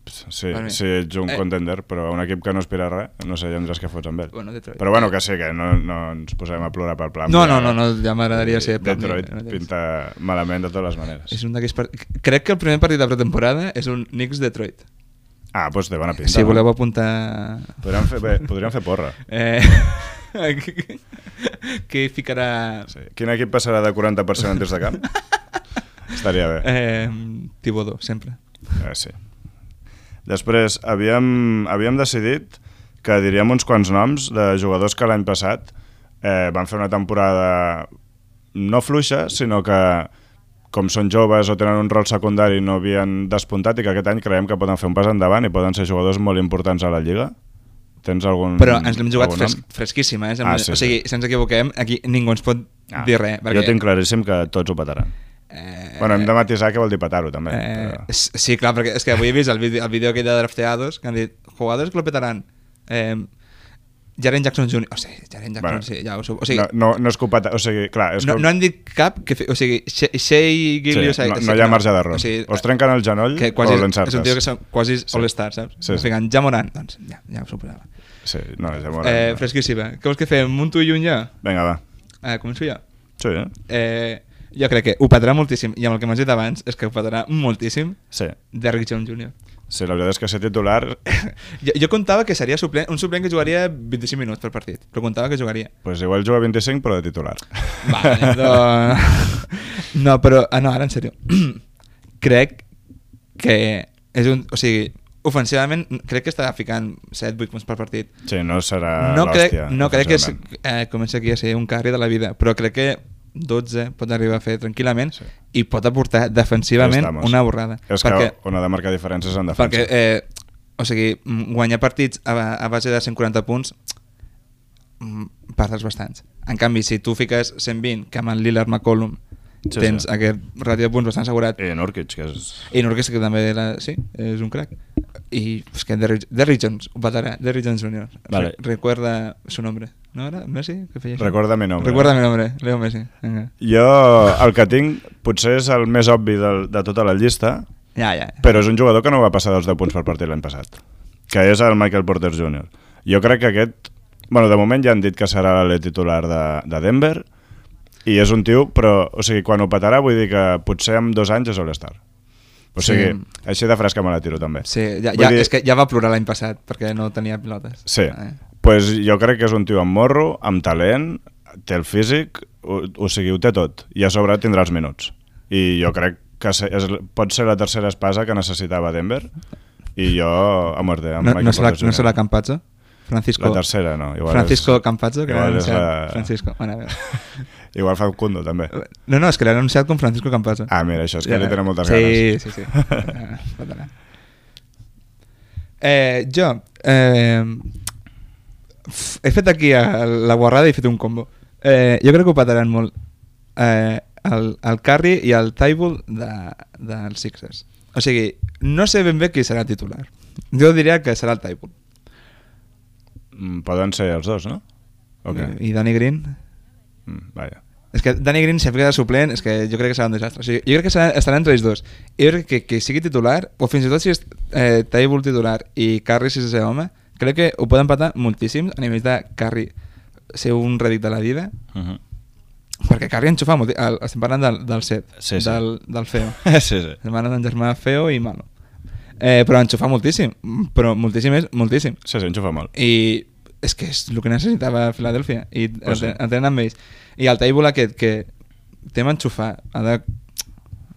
[SPEAKER 2] Sí,
[SPEAKER 3] Per mi.
[SPEAKER 2] sí, ets un
[SPEAKER 3] Eh.
[SPEAKER 2] eh. contender, però un equip que no aspira a res, no sé, ja em diràs què fots amb ell.
[SPEAKER 3] Bueno, Detroit.
[SPEAKER 2] Però bueno, que sí, que no, no ens posarem a plorar pel plan.
[SPEAKER 3] No, no, no, no ja m'agradaria ser Plumlee.
[SPEAKER 2] Detroit pinta malament de totes les maneres.
[SPEAKER 3] És un d'aquells part... Crec que el primer partit de pretemporada és un Knicks-Detroit.
[SPEAKER 2] Ah, doncs té bona pinta.
[SPEAKER 3] Si
[SPEAKER 2] no?
[SPEAKER 3] voleu apuntar...
[SPEAKER 2] Podríem fer, bé, podríem fer porra.
[SPEAKER 3] Eh... Qui ficarà...
[SPEAKER 2] Sí. Quin equip passarà de 40% en tirs de camp? Estaria bé.
[SPEAKER 3] Eh, Tibodó, sempre.
[SPEAKER 2] Eh, sí. Després, havíem, havíem decidit que diríem uns quants noms de jugadors que l'any passat eh, van fer una temporada no fluixa, sinó que com són joves o tenen un rol secundari no havien despuntat i que aquest any creiem que poden fer un pas endavant i poden ser jugadors molt importants a la Lliga. Tens algun
[SPEAKER 3] Però ens l'hem jugat
[SPEAKER 2] Mm, algun nom?
[SPEAKER 3] fresc, fresquíssima, eh?
[SPEAKER 2] Ah,
[SPEAKER 3] Ah,
[SPEAKER 2] sí,
[SPEAKER 3] sí, o sigui, si ens equivoquem, aquí ningú ens pot ah, dir res. Perquè,
[SPEAKER 2] Jo tinc claríssim que tots ho petaran.
[SPEAKER 3] Eh,
[SPEAKER 2] Eh... Bueno, hem de matisar què vol dir petar-ho, també.
[SPEAKER 3] Eh,
[SPEAKER 2] però-
[SPEAKER 3] s- sí, clar, perquè és que avui he vist el vídeo, el vídeo aquell de drafteados que han dit jugadors que lo petaran Eh, Jaren Jackson Jr. O sigui, Jaren Jackson,
[SPEAKER 2] Bueno.
[SPEAKER 3] bueno. sí, ja ho sub... O sigui,
[SPEAKER 2] no, no, no és culpa... ta- O sigui, clar, és
[SPEAKER 3] no,
[SPEAKER 2] com-
[SPEAKER 3] no han dit cap que... Fe... O sigui, Shea sí, Gillius...
[SPEAKER 2] sí, no, no hi ha marge d'error.
[SPEAKER 3] O sigui,
[SPEAKER 2] o es trenquen el genoll
[SPEAKER 3] que
[SPEAKER 2] o
[SPEAKER 3] quasi, és
[SPEAKER 2] l'encertes.
[SPEAKER 3] un tio que són quasi sí. all-star, saps?
[SPEAKER 2] Sí,
[SPEAKER 3] Sí, sí.
[SPEAKER 2] sí.
[SPEAKER 3] Ficant, ja morant, doncs ja, ja ho suposava.
[SPEAKER 2] Sí, no, ja m'ho
[SPEAKER 3] Eh, fresquíssima. Què vols que fem? Un tu i un ja?
[SPEAKER 2] Vinga, va.
[SPEAKER 3] Eh, començo ja.
[SPEAKER 2] Sí, eh?
[SPEAKER 3] Eh, jo crec que ho patarà moltíssim, i amb el que m'has dit abans és que ho patarà moltíssim
[SPEAKER 2] Sí.
[SPEAKER 3] Derrick Jones Jr.
[SPEAKER 2] Sí, la veritat és que ser titular...
[SPEAKER 3] Jo, jo comptava que seria suplent, un suplent que jugaria 25 minuts per partit, però comptava que jugaria.
[SPEAKER 2] pues igual juga 25, però de titular.
[SPEAKER 3] Vale, doncs... No, però... Ah, no, ara, en sèrio. crec que és un... O sigui, ofensivament, crec que està ficant 7-8 punts per partit.
[SPEAKER 2] Sí, no serà
[SPEAKER 3] No crec,
[SPEAKER 2] l'hòstia.
[SPEAKER 3] no crec que és,
[SPEAKER 2] precisament.
[SPEAKER 3] eh, comença aquí a ser un carri de la vida, però crec que 12 pot arribar a fer tranquil·lament
[SPEAKER 2] Sí.
[SPEAKER 3] sí. i pot aportar defensivament
[SPEAKER 2] Estamos.
[SPEAKER 3] una borrada.
[SPEAKER 2] És perquè... que on ha de marcar diferències en defensa.
[SPEAKER 3] Perquè, eh, o sigui, mm, guanyar partits a, ba- a base de 140 punts mm, perdes bastants. En canvi, si tu fiques 120, que amb el Lillard McCollum
[SPEAKER 2] Sí,
[SPEAKER 3] sí, tens
[SPEAKER 2] sí. Eh.
[SPEAKER 3] sí. aquest ràdio de punts bastant assegurat,
[SPEAKER 2] I Nurkic, que és...
[SPEAKER 3] i Norqués que també era, sí, és un crac. I és que Derrick Derrick Jones, ho patarà, Derrick Jones Jr.
[SPEAKER 2] Vale.
[SPEAKER 3] Re recuerda su nombre. ¿No era Messi? Que feia això?
[SPEAKER 2] Recuerda mi nombre.
[SPEAKER 3] Recuerda mi nombre, Leo Messi. Vinga.
[SPEAKER 2] Jo, el que tinc, potser és el més obvi de, de tota la llista,
[SPEAKER 3] Ja, ja.
[SPEAKER 2] però és un jugador que no va passar dels 10 punts per partit l'any passat, que és el Michael Porter Jr. Jo crec que aquest... Bueno, de moment ja han dit que serà l'alè titular de, de Denver, i és un tio, però, o sigui, quan ho petarà vull dir que potser en dos anys és All-Star. O
[SPEAKER 3] Sí.
[SPEAKER 2] sigui, sí. així de fresca me la tiro també.
[SPEAKER 3] Sí, ja,
[SPEAKER 2] Vull
[SPEAKER 3] ja,
[SPEAKER 2] dir-
[SPEAKER 3] és que ja va plorar l'any passat perquè no tenia pilotes.
[SPEAKER 2] Sí,
[SPEAKER 3] Eh.
[SPEAKER 2] pues jo crec que és un tio amb morro, amb talent, té el físic, o, o sigui, ho té tot, i a sobre tindrà els minuts. I jo crec que se- és, pot ser la tercera espasa que necessitava Denver, i jo a muerte amb
[SPEAKER 3] No,
[SPEAKER 2] Michael
[SPEAKER 3] no, se la,
[SPEAKER 2] Porter
[SPEAKER 3] no
[SPEAKER 2] Jr.
[SPEAKER 3] se la Campazzo? Francisco...
[SPEAKER 2] La tercera, no. Igual
[SPEAKER 3] Francisco
[SPEAKER 2] és,
[SPEAKER 3] Campazzo, que l'ha
[SPEAKER 2] igual és
[SPEAKER 3] anunciat.
[SPEAKER 2] la-
[SPEAKER 3] Francisco, bueno, a veure. Eh,
[SPEAKER 2] Igual Facundo, també.
[SPEAKER 3] No, no, és que l'ha anunciat com Francisco Campazzo.
[SPEAKER 2] Ah, mira, això és que li tenen moltes
[SPEAKER 3] sí,
[SPEAKER 2] ganes.
[SPEAKER 3] Sí, sí, sí. Ah, pot anar. eh, jo, eh, f- he fet aquí a la guarrada i he fet un combo. Eh, jo crec que ho petaran molt. Eh, el, el Curry i el Table de, dels Sixers. O sigui, no sé ben bé qui serà titular. Jo diria que serà el Table.
[SPEAKER 2] Mm, Poden ser els dos, no? Ok.
[SPEAKER 3] I Danny Green,
[SPEAKER 2] Mm, vaja.
[SPEAKER 3] És que Danny Green, si fica de suplent, és que jo crec que serà un desastre. O sigui, jo crec que serà, estarà entre ells dos. I jo crec que, que sigui titular, o fins i tot si és eh, Table titular i Carri si és el seu home, crec que ho poden empatar moltíssim a nivell de Carri ser un rèdit de la vida,
[SPEAKER 2] Uh -huh.
[SPEAKER 3] perquè Carri enxufa molt. El, estem parlant del, del set,
[SPEAKER 2] Sí, sí.
[SPEAKER 3] Del, del feo.
[SPEAKER 2] sí, sí.
[SPEAKER 3] Hermana d'un germà feo i malo. Eh, però enxufa moltíssim, però moltíssim és moltíssim.
[SPEAKER 2] Sí, sí, enxufa molt.
[SPEAKER 3] I és que és el que necessitava Filadèlfia i
[SPEAKER 2] Pues
[SPEAKER 3] pues
[SPEAKER 2] sí.
[SPEAKER 3] sí. el tenen amb ells. I el Table aquest que té m'enxufar, ha de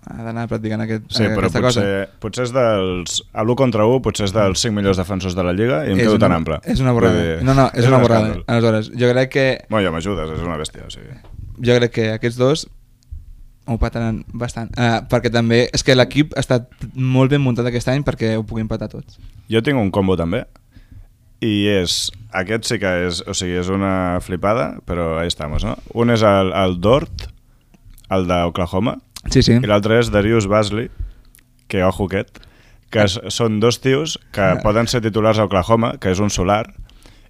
[SPEAKER 3] ha d'anar practicant aquest,
[SPEAKER 2] Sí, però
[SPEAKER 3] eh, aquesta cosa.
[SPEAKER 2] potser, potser és dels... A l'1 contra 1 potser és dels 5 millors defensors de la Lliga i un
[SPEAKER 3] És
[SPEAKER 2] tio tan
[SPEAKER 3] una-
[SPEAKER 2] ample.
[SPEAKER 3] És una borrada.
[SPEAKER 2] Vull dir,
[SPEAKER 3] No, no, és, és una
[SPEAKER 2] un
[SPEAKER 3] borrada.
[SPEAKER 2] escàndol.
[SPEAKER 3] Aleshores, jo crec que
[SPEAKER 2] Bueno, ja m'ajudes, és una bèstia, o sigui...
[SPEAKER 3] jo crec que aquests dos ho pataran bastant. Uh, perquè també és que l'equip ha estat molt ben muntat aquest any perquè ho puguin patar tots.
[SPEAKER 2] Jo tinc un combo també, i és... Aquest sí que és... O sigui, és una flipada, però ahí estamos, no? Un és el, el Dort, el d'Oklahoma,
[SPEAKER 3] Sí, sí.
[SPEAKER 2] i l'altre és Darius Basley, que ojo aquest, que s- són dos tios que
[SPEAKER 3] Ah.
[SPEAKER 2] poden ser titulars a Oklahoma, que és un solar,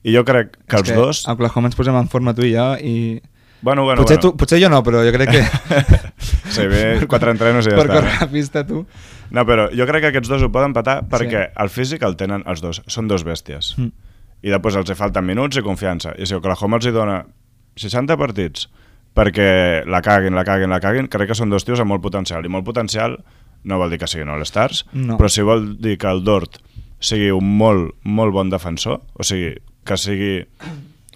[SPEAKER 2] i jo crec que els dos...
[SPEAKER 3] A Oklahoma ens posem en forma tu i jo i...
[SPEAKER 2] Bueno, bueno,
[SPEAKER 3] Bueno, potser,
[SPEAKER 2] bueno.
[SPEAKER 3] tu, potser jo no, però jo crec que...
[SPEAKER 2] Sí, bé, quatre entrenos i ja
[SPEAKER 3] per
[SPEAKER 2] està.
[SPEAKER 3] Per córrer a pista, tu.
[SPEAKER 2] No, però jo crec que aquests dos ho poden patar perquè
[SPEAKER 3] Sí.
[SPEAKER 2] el físic el tenen els dos, són dos bèsties.
[SPEAKER 3] Mm.
[SPEAKER 2] I després els hi falten minuts i confiança. I si Oklahoma els hi dona 60 partits perquè la caguin, la caguin, la caguin, crec que són dos tios amb molt potencial. I molt potencial no vol dir que siguin All-Stars,
[SPEAKER 3] No.
[SPEAKER 2] però si vol dir que el Dort sigui un molt, molt bon defensor, o sigui, que sigui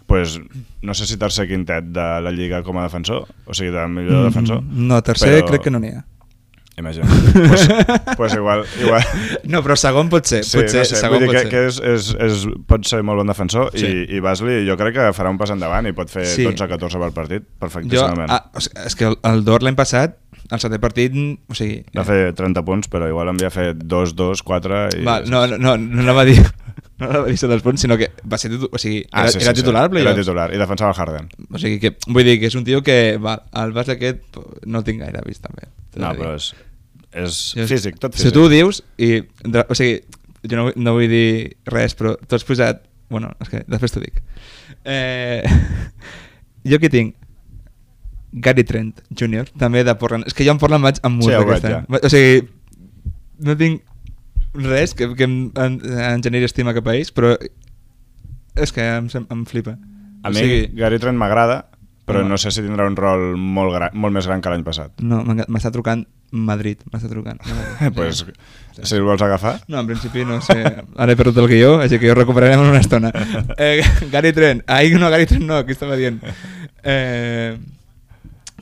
[SPEAKER 2] pues, no sé si tercer quintet de la Lliga com a defensor, o sigui, de millor defensor.
[SPEAKER 3] Mm, No, tercer
[SPEAKER 2] però-
[SPEAKER 3] crec que no n'hi ha.
[SPEAKER 2] Imagina. pues, pues igual, igual.
[SPEAKER 3] No, però segon pot ser.
[SPEAKER 2] Sí,
[SPEAKER 3] potser,
[SPEAKER 2] no sé,
[SPEAKER 3] segon
[SPEAKER 2] vull dir
[SPEAKER 3] pot
[SPEAKER 2] que,
[SPEAKER 3] ser.
[SPEAKER 2] que és, és, és, pot ser molt bon defensor sí. i,
[SPEAKER 3] Sí.
[SPEAKER 2] i Basley jo crec que farà un pas endavant i pot fer sí.
[SPEAKER 3] Sí.
[SPEAKER 2] 12-14 per partit
[SPEAKER 3] jo,
[SPEAKER 2] perfectíssimament.
[SPEAKER 3] ah, o sigui, és que el, el Dor l'any passat, el setè partit, o sigui... eh,
[SPEAKER 2] Va fer 30 punts, però igual en havia fet 2, 2, 4... I...
[SPEAKER 3] va, no, no, no, no anava a dir... No anava a dir sota els punts, sinó que va ser titular, o sigui,
[SPEAKER 2] Ah,
[SPEAKER 3] era,
[SPEAKER 2] sí, sí,
[SPEAKER 3] era
[SPEAKER 2] sí,
[SPEAKER 3] titular, sí,
[SPEAKER 2] Era titular, i defensava el Harden.
[SPEAKER 3] O sigui, que, vull dir que és un tio que, va, el bas aquest pues, no el tinc gaire eh, vist, també. t'he de
[SPEAKER 2] No,
[SPEAKER 3] dir.
[SPEAKER 2] però és, és
[SPEAKER 3] Jo-
[SPEAKER 2] físic, tot
[SPEAKER 3] Si
[SPEAKER 2] físic.
[SPEAKER 3] tu ho dius, i, dra- o sigui, jo no, vull- no vull dir res, però tu has posat Bueno, és que després t'ho dic. Eh, jo aquí tinc Gary Trent Jr., també de Portland. És que jo en Portland vaig amb
[SPEAKER 2] Sí,
[SPEAKER 3] molt
[SPEAKER 2] ja ho
[SPEAKER 3] d'aquest
[SPEAKER 2] veig,
[SPEAKER 3] any.
[SPEAKER 2] ja.
[SPEAKER 3] O sigui, no tinc res que, que em- en, en generi estima cap a ells, però és que em, sem- em flipa.
[SPEAKER 2] A mi Gary Trent m'agrada, però
[SPEAKER 3] Home.
[SPEAKER 2] no sé si tindrà un rol molt, gran, molt més gran que l'any passat.
[SPEAKER 3] No, m'enca- m'està trucant Madrid, m'està trucant. Madrid.
[SPEAKER 2] pues,
[SPEAKER 3] Sí.
[SPEAKER 2] si el vols agafar...
[SPEAKER 3] No, en principi no sé. Ara he perdut el guió, així que ho recuperarem en una estona. Eh, Gary Trent. Ai, no, Gary Trent no, aquí estava dient. Eh,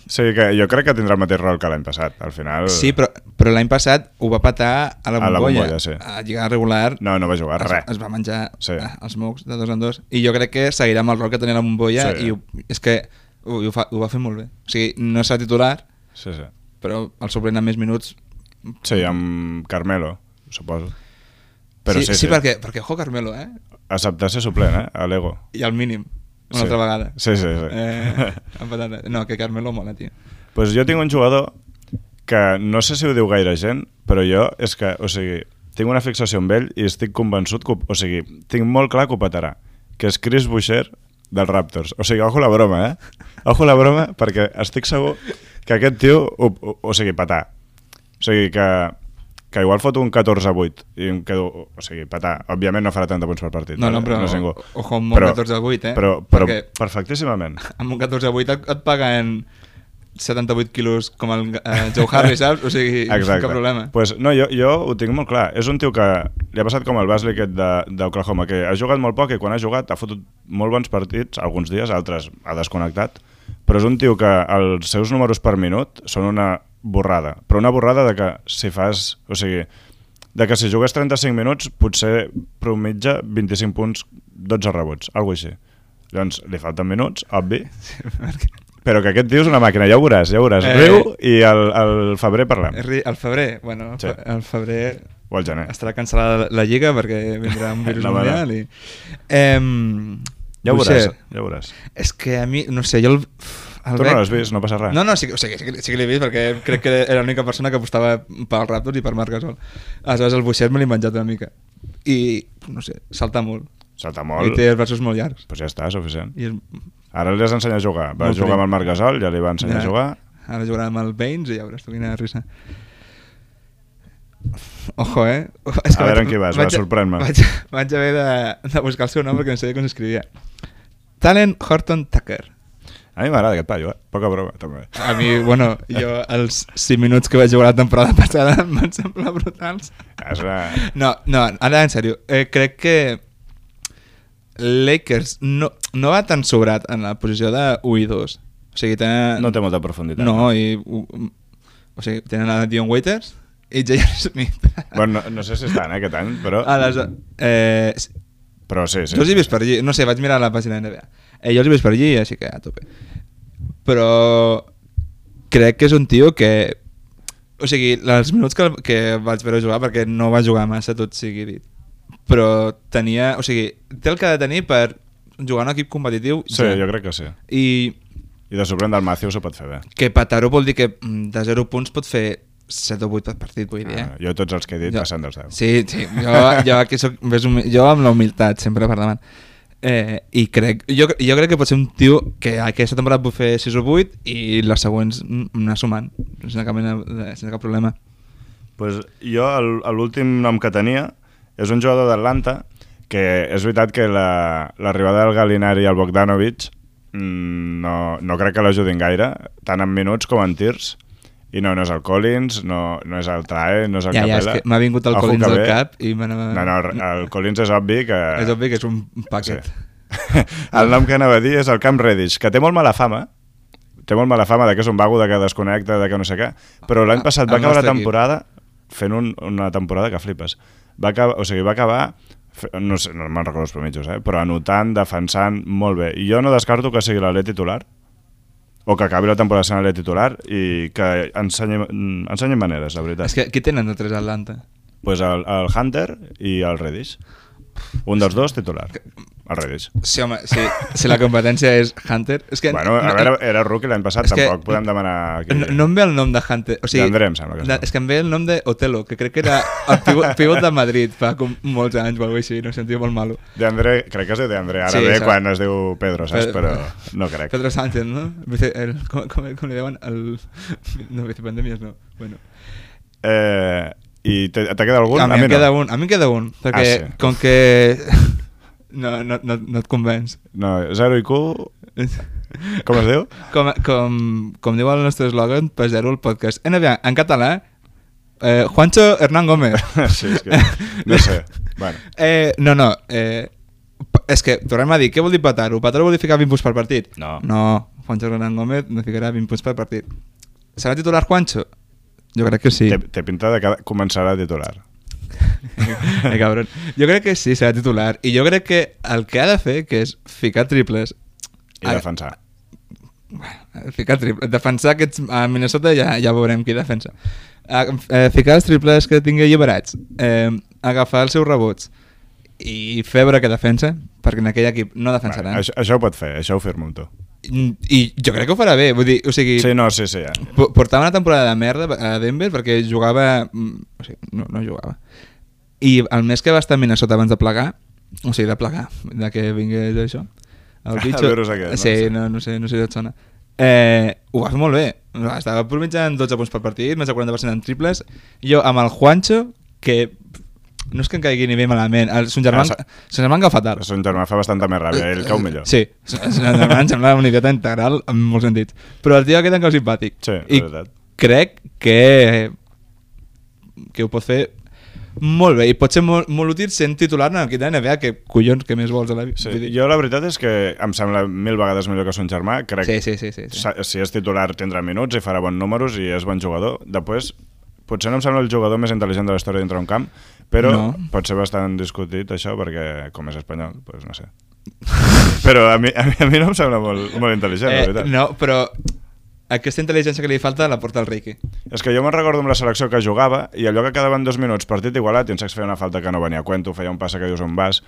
[SPEAKER 2] Sí, que jo crec que tindrà el mateix rol que l'any passat, al final...
[SPEAKER 3] sí, però, però l'any passat ho va patar a la
[SPEAKER 2] A la
[SPEAKER 3] bombolla.
[SPEAKER 2] Bombolla, sí.
[SPEAKER 3] A lligar regular.
[SPEAKER 2] No, no va jugar
[SPEAKER 3] es,
[SPEAKER 2] res.
[SPEAKER 3] es va menjar
[SPEAKER 2] Sí.
[SPEAKER 3] sí. els mocs de dos en dos. I jo crec que seguirà amb el rol que tenia la bombolla
[SPEAKER 2] Sí.
[SPEAKER 3] sí. i ho, és que ho, ho, fa, ho va fer molt bé. O sigui, no serà titular,
[SPEAKER 2] Sí, sí.
[SPEAKER 3] però el suplent amb més minuts...
[SPEAKER 2] Sí, amb Carmelo, suposo. Però
[SPEAKER 3] sí,
[SPEAKER 2] sí,
[SPEAKER 3] sí, perquè, perquè ojo Carmelo, eh?
[SPEAKER 2] Acceptar ser suplent, eh? A l'ego.
[SPEAKER 3] I al mínim, una
[SPEAKER 2] Sí.
[SPEAKER 3] sí. altra vegada.
[SPEAKER 2] Sí, sí, sí.
[SPEAKER 3] Eh, amb patata. no, que Carmelo mola, tio.
[SPEAKER 2] Pues jo tinc un jugador que no sé si ho diu gaire gent, però jo és que, o sigui, tinc una fixació amb ell i estic convençut que, ho- o sigui, tinc molt clar que ho petarà, que és Chris Boucher dels Raptors. O sigui, ojo la broma, eh? Ojo la broma, perquè estic segur que aquest tio, ho, ho, o sigui, petar. O sigui, que, que igual foto un 14-8 i em quedo, o sigui, petar. Òbviament no farà 30 punts per partit.
[SPEAKER 3] No, no, però
[SPEAKER 2] és ningú.
[SPEAKER 3] ojo amb un 14-8, eh?
[SPEAKER 2] Però, però
[SPEAKER 3] Perquè-
[SPEAKER 2] perfectíssimament.
[SPEAKER 3] Amb un 14 a 8 et, et paguen 78 quilos com el eh, Joe Harris, saps? O sigui,
[SPEAKER 2] Exacte.
[SPEAKER 3] cap problema.
[SPEAKER 2] Pues, no, jo, jo ho tinc molt clar. És un tio que li ha passat com el Basley aquest de- d'Oklahoma, que ha jugat molt poc i quan ha jugat ha fotut molt bons partits, alguns dies, altres ha desconnectat, però és un tio que els seus números per minut són una borrada, però una borrada de que si fas... O sigui, de que si jugues 35 minuts potser promitja 25 punts, 12 rebots, alguna així. Llavors, li falten minuts, obvi, però que aquest tio és una màquina, ja ho veuràs, ja ho veuràs.
[SPEAKER 3] Eh.
[SPEAKER 2] Eh... Riu i al, al febrer parlem.
[SPEAKER 3] Ri- Al febrer, bueno, al
[SPEAKER 2] Sí. Eh.
[SPEAKER 3] fe- al febrer
[SPEAKER 2] O al gener.
[SPEAKER 3] estarà cancel·lada la- la lliga perquè vindrà un virus
[SPEAKER 2] No, va, no.
[SPEAKER 3] mundial i... Em,
[SPEAKER 2] Ja ho veuràs,
[SPEAKER 3] Boucher,
[SPEAKER 2] ja ho veuràs.
[SPEAKER 3] És que a mi, no sé, jo el... el
[SPEAKER 2] Tu no
[SPEAKER 3] veig-
[SPEAKER 2] l'has vist, no passa res.
[SPEAKER 3] No, no, sí, que- o sigui, sí, que- sí que l'he vist perquè crec que era l'única persona que apostava pel Raptors i per Marc Gasol. Aleshores el Buixer me l'he menjat una mica. I, no sé, salta molt.
[SPEAKER 2] Salta
[SPEAKER 3] molt. I
[SPEAKER 2] molt,
[SPEAKER 3] té els braços molt llargs.
[SPEAKER 2] doncs ja està, suficient.
[SPEAKER 3] I és...
[SPEAKER 2] Ara li has d'ensenyar a jugar. Va
[SPEAKER 3] Molt Eh.
[SPEAKER 2] jugar
[SPEAKER 3] prim.
[SPEAKER 2] amb el Marc Gasol, ja li va ensenyar a
[SPEAKER 3] Ja,
[SPEAKER 2] jugar.
[SPEAKER 3] Ara jugarà amb el Baines i ja veuràs tu quina risa. Ojo, eh? És
[SPEAKER 2] A veure
[SPEAKER 3] vaig-
[SPEAKER 2] en qui vas, va,
[SPEAKER 3] vaig a-
[SPEAKER 2] sorprèn-me.
[SPEAKER 3] Vaig, vaig haver de, de buscar el seu nom perquè no sabia com s'escrivia. Talent Horton Tucker.
[SPEAKER 2] A mi m'agrada aquest paio, eh? Poca broma, també.
[SPEAKER 3] A mi, bueno, jo els 5 minuts que vaig jugar la temporada passada em van semblar brutals.
[SPEAKER 2] És una...
[SPEAKER 3] No, no, ara en sèrio, eh, crec que Lakers no, no va tan sobrat en la posició de 1 i 2. O sigui, tenen...
[SPEAKER 2] No té eh? molta profunditat.
[SPEAKER 3] No, i... mm, O sigui, tenen a Dion Waiters i J.R. Smith.
[SPEAKER 2] Bueno, no, no sé si estan eh, aquest any, però...
[SPEAKER 3] A les, eh, s-
[SPEAKER 2] Però sí, sí.
[SPEAKER 3] jo els he vist per allí, no sé, vaig mirar la pàgina NBA. Eh, jo els he vist per allí, així que a tope. Però crec que és un tio que... O sigui, els minuts que, el- que vaig veure jugar, perquè no va jugar massa, tot sigui dit, però tenia... O sigui, té el que ha de tenir per jugar en un equip competitiu.
[SPEAKER 2] Sí, jo crec que sí.
[SPEAKER 3] I
[SPEAKER 2] I de sorprèn del Matthews ho pot fer bé.
[SPEAKER 3] que Pataro vol dir que mm, de 0 punts pot fer 7 o 8 per partit, vull dir, eh?
[SPEAKER 2] Ah, jo tots els que he dit
[SPEAKER 3] Jo-
[SPEAKER 2] passen dels 10.
[SPEAKER 3] Sí, sí, jo, jo, aquí soc, més humi... jo amb la humilitat sempre per davant. Eh, I crec, jo, jo crec que pot ser un tio que aquesta temporada pot fer 6 o 8 i les següents mm, anar sumant, sense cap, mena, de- sense cap problema.
[SPEAKER 2] Pues jo el- l'últim nom que tenia és un jugador d'Atlanta que és veritat que la- l'arribada la, del Galinari al Bogdanovic mm, no, no crec que l'ajudin gaire, tant en minuts com en tirs. I no, no és el Collins, no, no és el Trae, no és el
[SPEAKER 3] Ja, ja, és
[SPEAKER 2] Capella.
[SPEAKER 3] que m'ha vingut el
[SPEAKER 2] Ojo
[SPEAKER 3] Collins
[SPEAKER 2] que
[SPEAKER 3] al
[SPEAKER 2] ve.
[SPEAKER 3] cap i m'anava...
[SPEAKER 2] No, no, el Collins és obvi que...
[SPEAKER 3] És obvi que és un paquet.
[SPEAKER 2] Sí. El nom que anava a dir és el Camp Reddish, que té molt mala fama, té molt mala fama de que és un vago, de que desconnecta, de que no sé què, però l'any
[SPEAKER 3] Ah,
[SPEAKER 2] passat va
[SPEAKER 3] el
[SPEAKER 2] acabar la
[SPEAKER 3] nostre equip.
[SPEAKER 2] temporada fent un, una temporada que flipes. Va acabar, o sigui, va acabar fe- no sé, no me'n recordo els promitjos, eh? però anotant, defensant, molt bé. I jo no descarto que sigui l'Alet titular, o que acabi la temporada sent l'Alet titular i que ensenyi, mm, ensenyi maneres, la veritat.
[SPEAKER 3] És que qui tenen de tres a Atlanta?
[SPEAKER 2] pues el, el Hunter i el Reddish. Un dels dos titular. Al revés.
[SPEAKER 3] Sí, home, sí, si la competència és Hunter... És que
[SPEAKER 2] Bueno, a
[SPEAKER 3] no- eh,
[SPEAKER 2] veure, era rookie l'any passat,
[SPEAKER 3] És que-
[SPEAKER 2] tampoc podem demanar... Aquí.
[SPEAKER 3] No, no em ve el nom de Hunter. O sigui,
[SPEAKER 2] D'André, em sembla que es
[SPEAKER 3] de-
[SPEAKER 2] diu.
[SPEAKER 3] és que em ve el nom de Otelo, que crec que era el pivot, pivot de Madrid fa com molts anys o alguna cosa així, no sentia molt malo.
[SPEAKER 2] D'André, crec que es diu D'André, ara
[SPEAKER 3] Sí,
[SPEAKER 2] sí, ve
[SPEAKER 3] saps.
[SPEAKER 2] quan es diu Pedro, saps?
[SPEAKER 3] Pedro.
[SPEAKER 2] Però no crec.
[SPEAKER 3] Pedro Sánchez, no? Vice- El, com, com, com li deuen? El... No, vicepandemies no. Bueno.
[SPEAKER 2] Eh, I t'ha t'ha quedat algun?
[SPEAKER 3] a, mi em
[SPEAKER 2] no.
[SPEAKER 3] queda un, a mi em queda un, perquè
[SPEAKER 2] Ah, sí.
[SPEAKER 3] com que... No, no, no, no et convenç.
[SPEAKER 2] No, 0 IQ, com es diu?
[SPEAKER 3] Com, com, com diu el nostre eslògan, per zero el podcast. NBA, en català, eh, Juancho Hernán Gómez.
[SPEAKER 2] sí, és que... No sé. Bueno,
[SPEAKER 3] Eh, no, no. Eh, p- és que tornem a dir, què vol dir Pataro? Pataro vol dir ficar 20 punts per partit?
[SPEAKER 2] No.
[SPEAKER 3] No, Juancho Hernán Gómez no ficarà 20 punts per partit. Serà titular Juancho? Jo crec que sí.
[SPEAKER 2] té, té pinta de que començarà a titular.
[SPEAKER 3] eh, cabron. Jo crec que sí, serà titular. I jo crec que el que ha de fer, que és ficar triples,
[SPEAKER 2] I
[SPEAKER 3] Ah.
[SPEAKER 2] defensar.
[SPEAKER 3] ficar triples, defensar aquests... A Minnesota ja, ja veurem qui defensa. A, eh, ficar els triples que tingui alliberats, eh, agafar els seus rebots i febre que defensa, perquè en aquell equip no defensaran.
[SPEAKER 2] Vale, això, això ho pot fer, això ho firmo amb tu.
[SPEAKER 3] Mm, I jo crec que ho farà bé, vull dir, o sigui...
[SPEAKER 2] Sí, no, sí, eh. sí. Ja.
[SPEAKER 3] po- Portava una temporada de merda a Denver perquè jugava... mm, O sigui, no, no jugava. I el mes que va estar a Minnesota abans de plegar, o sigui, de plegar, de que vingués això, el
[SPEAKER 2] Ah,
[SPEAKER 3] bitxo...
[SPEAKER 2] el virus aquest, no?
[SPEAKER 3] sí, no, no sé, no sé si et sona. Eh, ho va fer molt bé. Estava promitjant 12 punts per partit, més de 40% en triples. Jo amb el Juancho, que no és que em caigui ni bé malament, el, son germà,
[SPEAKER 2] Ah, sa-
[SPEAKER 3] son germà em cau fatal.
[SPEAKER 2] Son germà fa bastanta més ràbia, ell cau millor.
[SPEAKER 3] Eh, Sí, Sandman em sembla un idiota integral en molts sentits. Però el tio aquest em cau simpàtic.
[SPEAKER 2] Sí,
[SPEAKER 3] I
[SPEAKER 2] de veritat.
[SPEAKER 3] crec que, que ho pot fer molt bé i pot ser molt, molt útil sent titular en l'equip de NBA, que collons, que més vols a la vida.
[SPEAKER 2] Sí,
[SPEAKER 3] Vull dir-
[SPEAKER 2] jo la veritat és que em sembla mil vegades millor que son germà. Crec
[SPEAKER 3] sí, sí, sí, sí, sí.
[SPEAKER 2] Sa- si és titular tindrà minuts i farà bons números i és bon jugador. Després, potser no em sembla el jugador més intel·ligent de la història dintre un camp, però
[SPEAKER 3] No.
[SPEAKER 2] no. pot ser bastant discutit això perquè com és espanyol, doncs no sé. però a mi, a mi, a mi no em sembla molt, molt intel·ligent, eh, la veritat.
[SPEAKER 3] no, però aquesta intel·ligència que li falta la porta el Ricky.
[SPEAKER 2] És que jo me'n recordo amb la selecció que jugava i allò que quedaven dos minuts partit igualat i en Sax feia una falta que no venia a cuento, feia un passe que dius on vas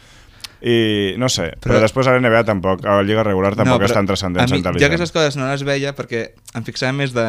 [SPEAKER 2] i no sé, però,
[SPEAKER 3] Però-
[SPEAKER 2] però després a la NBA tampoc, a la Lliga regular tampoc no, és tan transcendent
[SPEAKER 3] a mi,
[SPEAKER 2] ser
[SPEAKER 3] Jo
[SPEAKER 2] intel·ligent.
[SPEAKER 3] aquestes coses no les veia perquè em fixava més de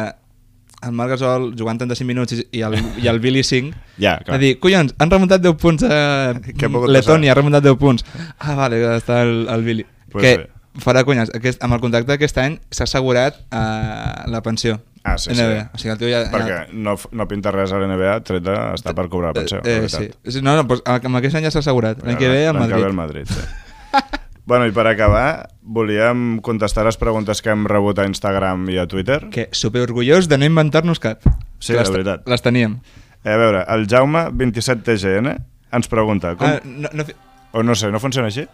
[SPEAKER 3] el Marc Gasol jugant 35 minuts i, i, el, i el Billy 5
[SPEAKER 2] Ja, clar.
[SPEAKER 3] de dir, collons, han remuntat 10 punts a
[SPEAKER 2] Què ha pogut
[SPEAKER 3] Letònia,
[SPEAKER 2] passar?
[SPEAKER 3] ha remuntat 10 punts ah, vale, està el, el Billy
[SPEAKER 2] Pues
[SPEAKER 3] que
[SPEAKER 2] bé.
[SPEAKER 3] farà conyes, aquest, amb el contracte d'aquest any s'ha assegurat eh, la pensió
[SPEAKER 2] Ah, sí, sí.
[SPEAKER 3] NBA. o sigui, el tio ja,
[SPEAKER 2] Perquè
[SPEAKER 3] ja,
[SPEAKER 2] no, f- no pinta res a l'NBA, tret d'estar per cobrar la pensió,
[SPEAKER 3] eh,
[SPEAKER 2] la
[SPEAKER 3] eh,
[SPEAKER 2] veritat.
[SPEAKER 3] sí. Sí, no, no, doncs, amb aquest any ja s'ha assegurat l'any que ve al
[SPEAKER 2] L'any
[SPEAKER 3] Madrid,
[SPEAKER 2] Que ve al Madrid sí. bueno, i per acabar, volíem contestar les preguntes que hem rebut a Instagram i a Twitter.
[SPEAKER 3] que superorgullós de no inventar-nos cap
[SPEAKER 2] Sí,
[SPEAKER 3] Que
[SPEAKER 2] la
[SPEAKER 3] les-
[SPEAKER 2] veritat.
[SPEAKER 3] les teníem
[SPEAKER 2] Eh, a veure, el Jaume 27TGN ens pregunta, com,
[SPEAKER 3] ah,
[SPEAKER 2] ah.
[SPEAKER 3] no, no, fi-
[SPEAKER 2] o no sé, no funciona així?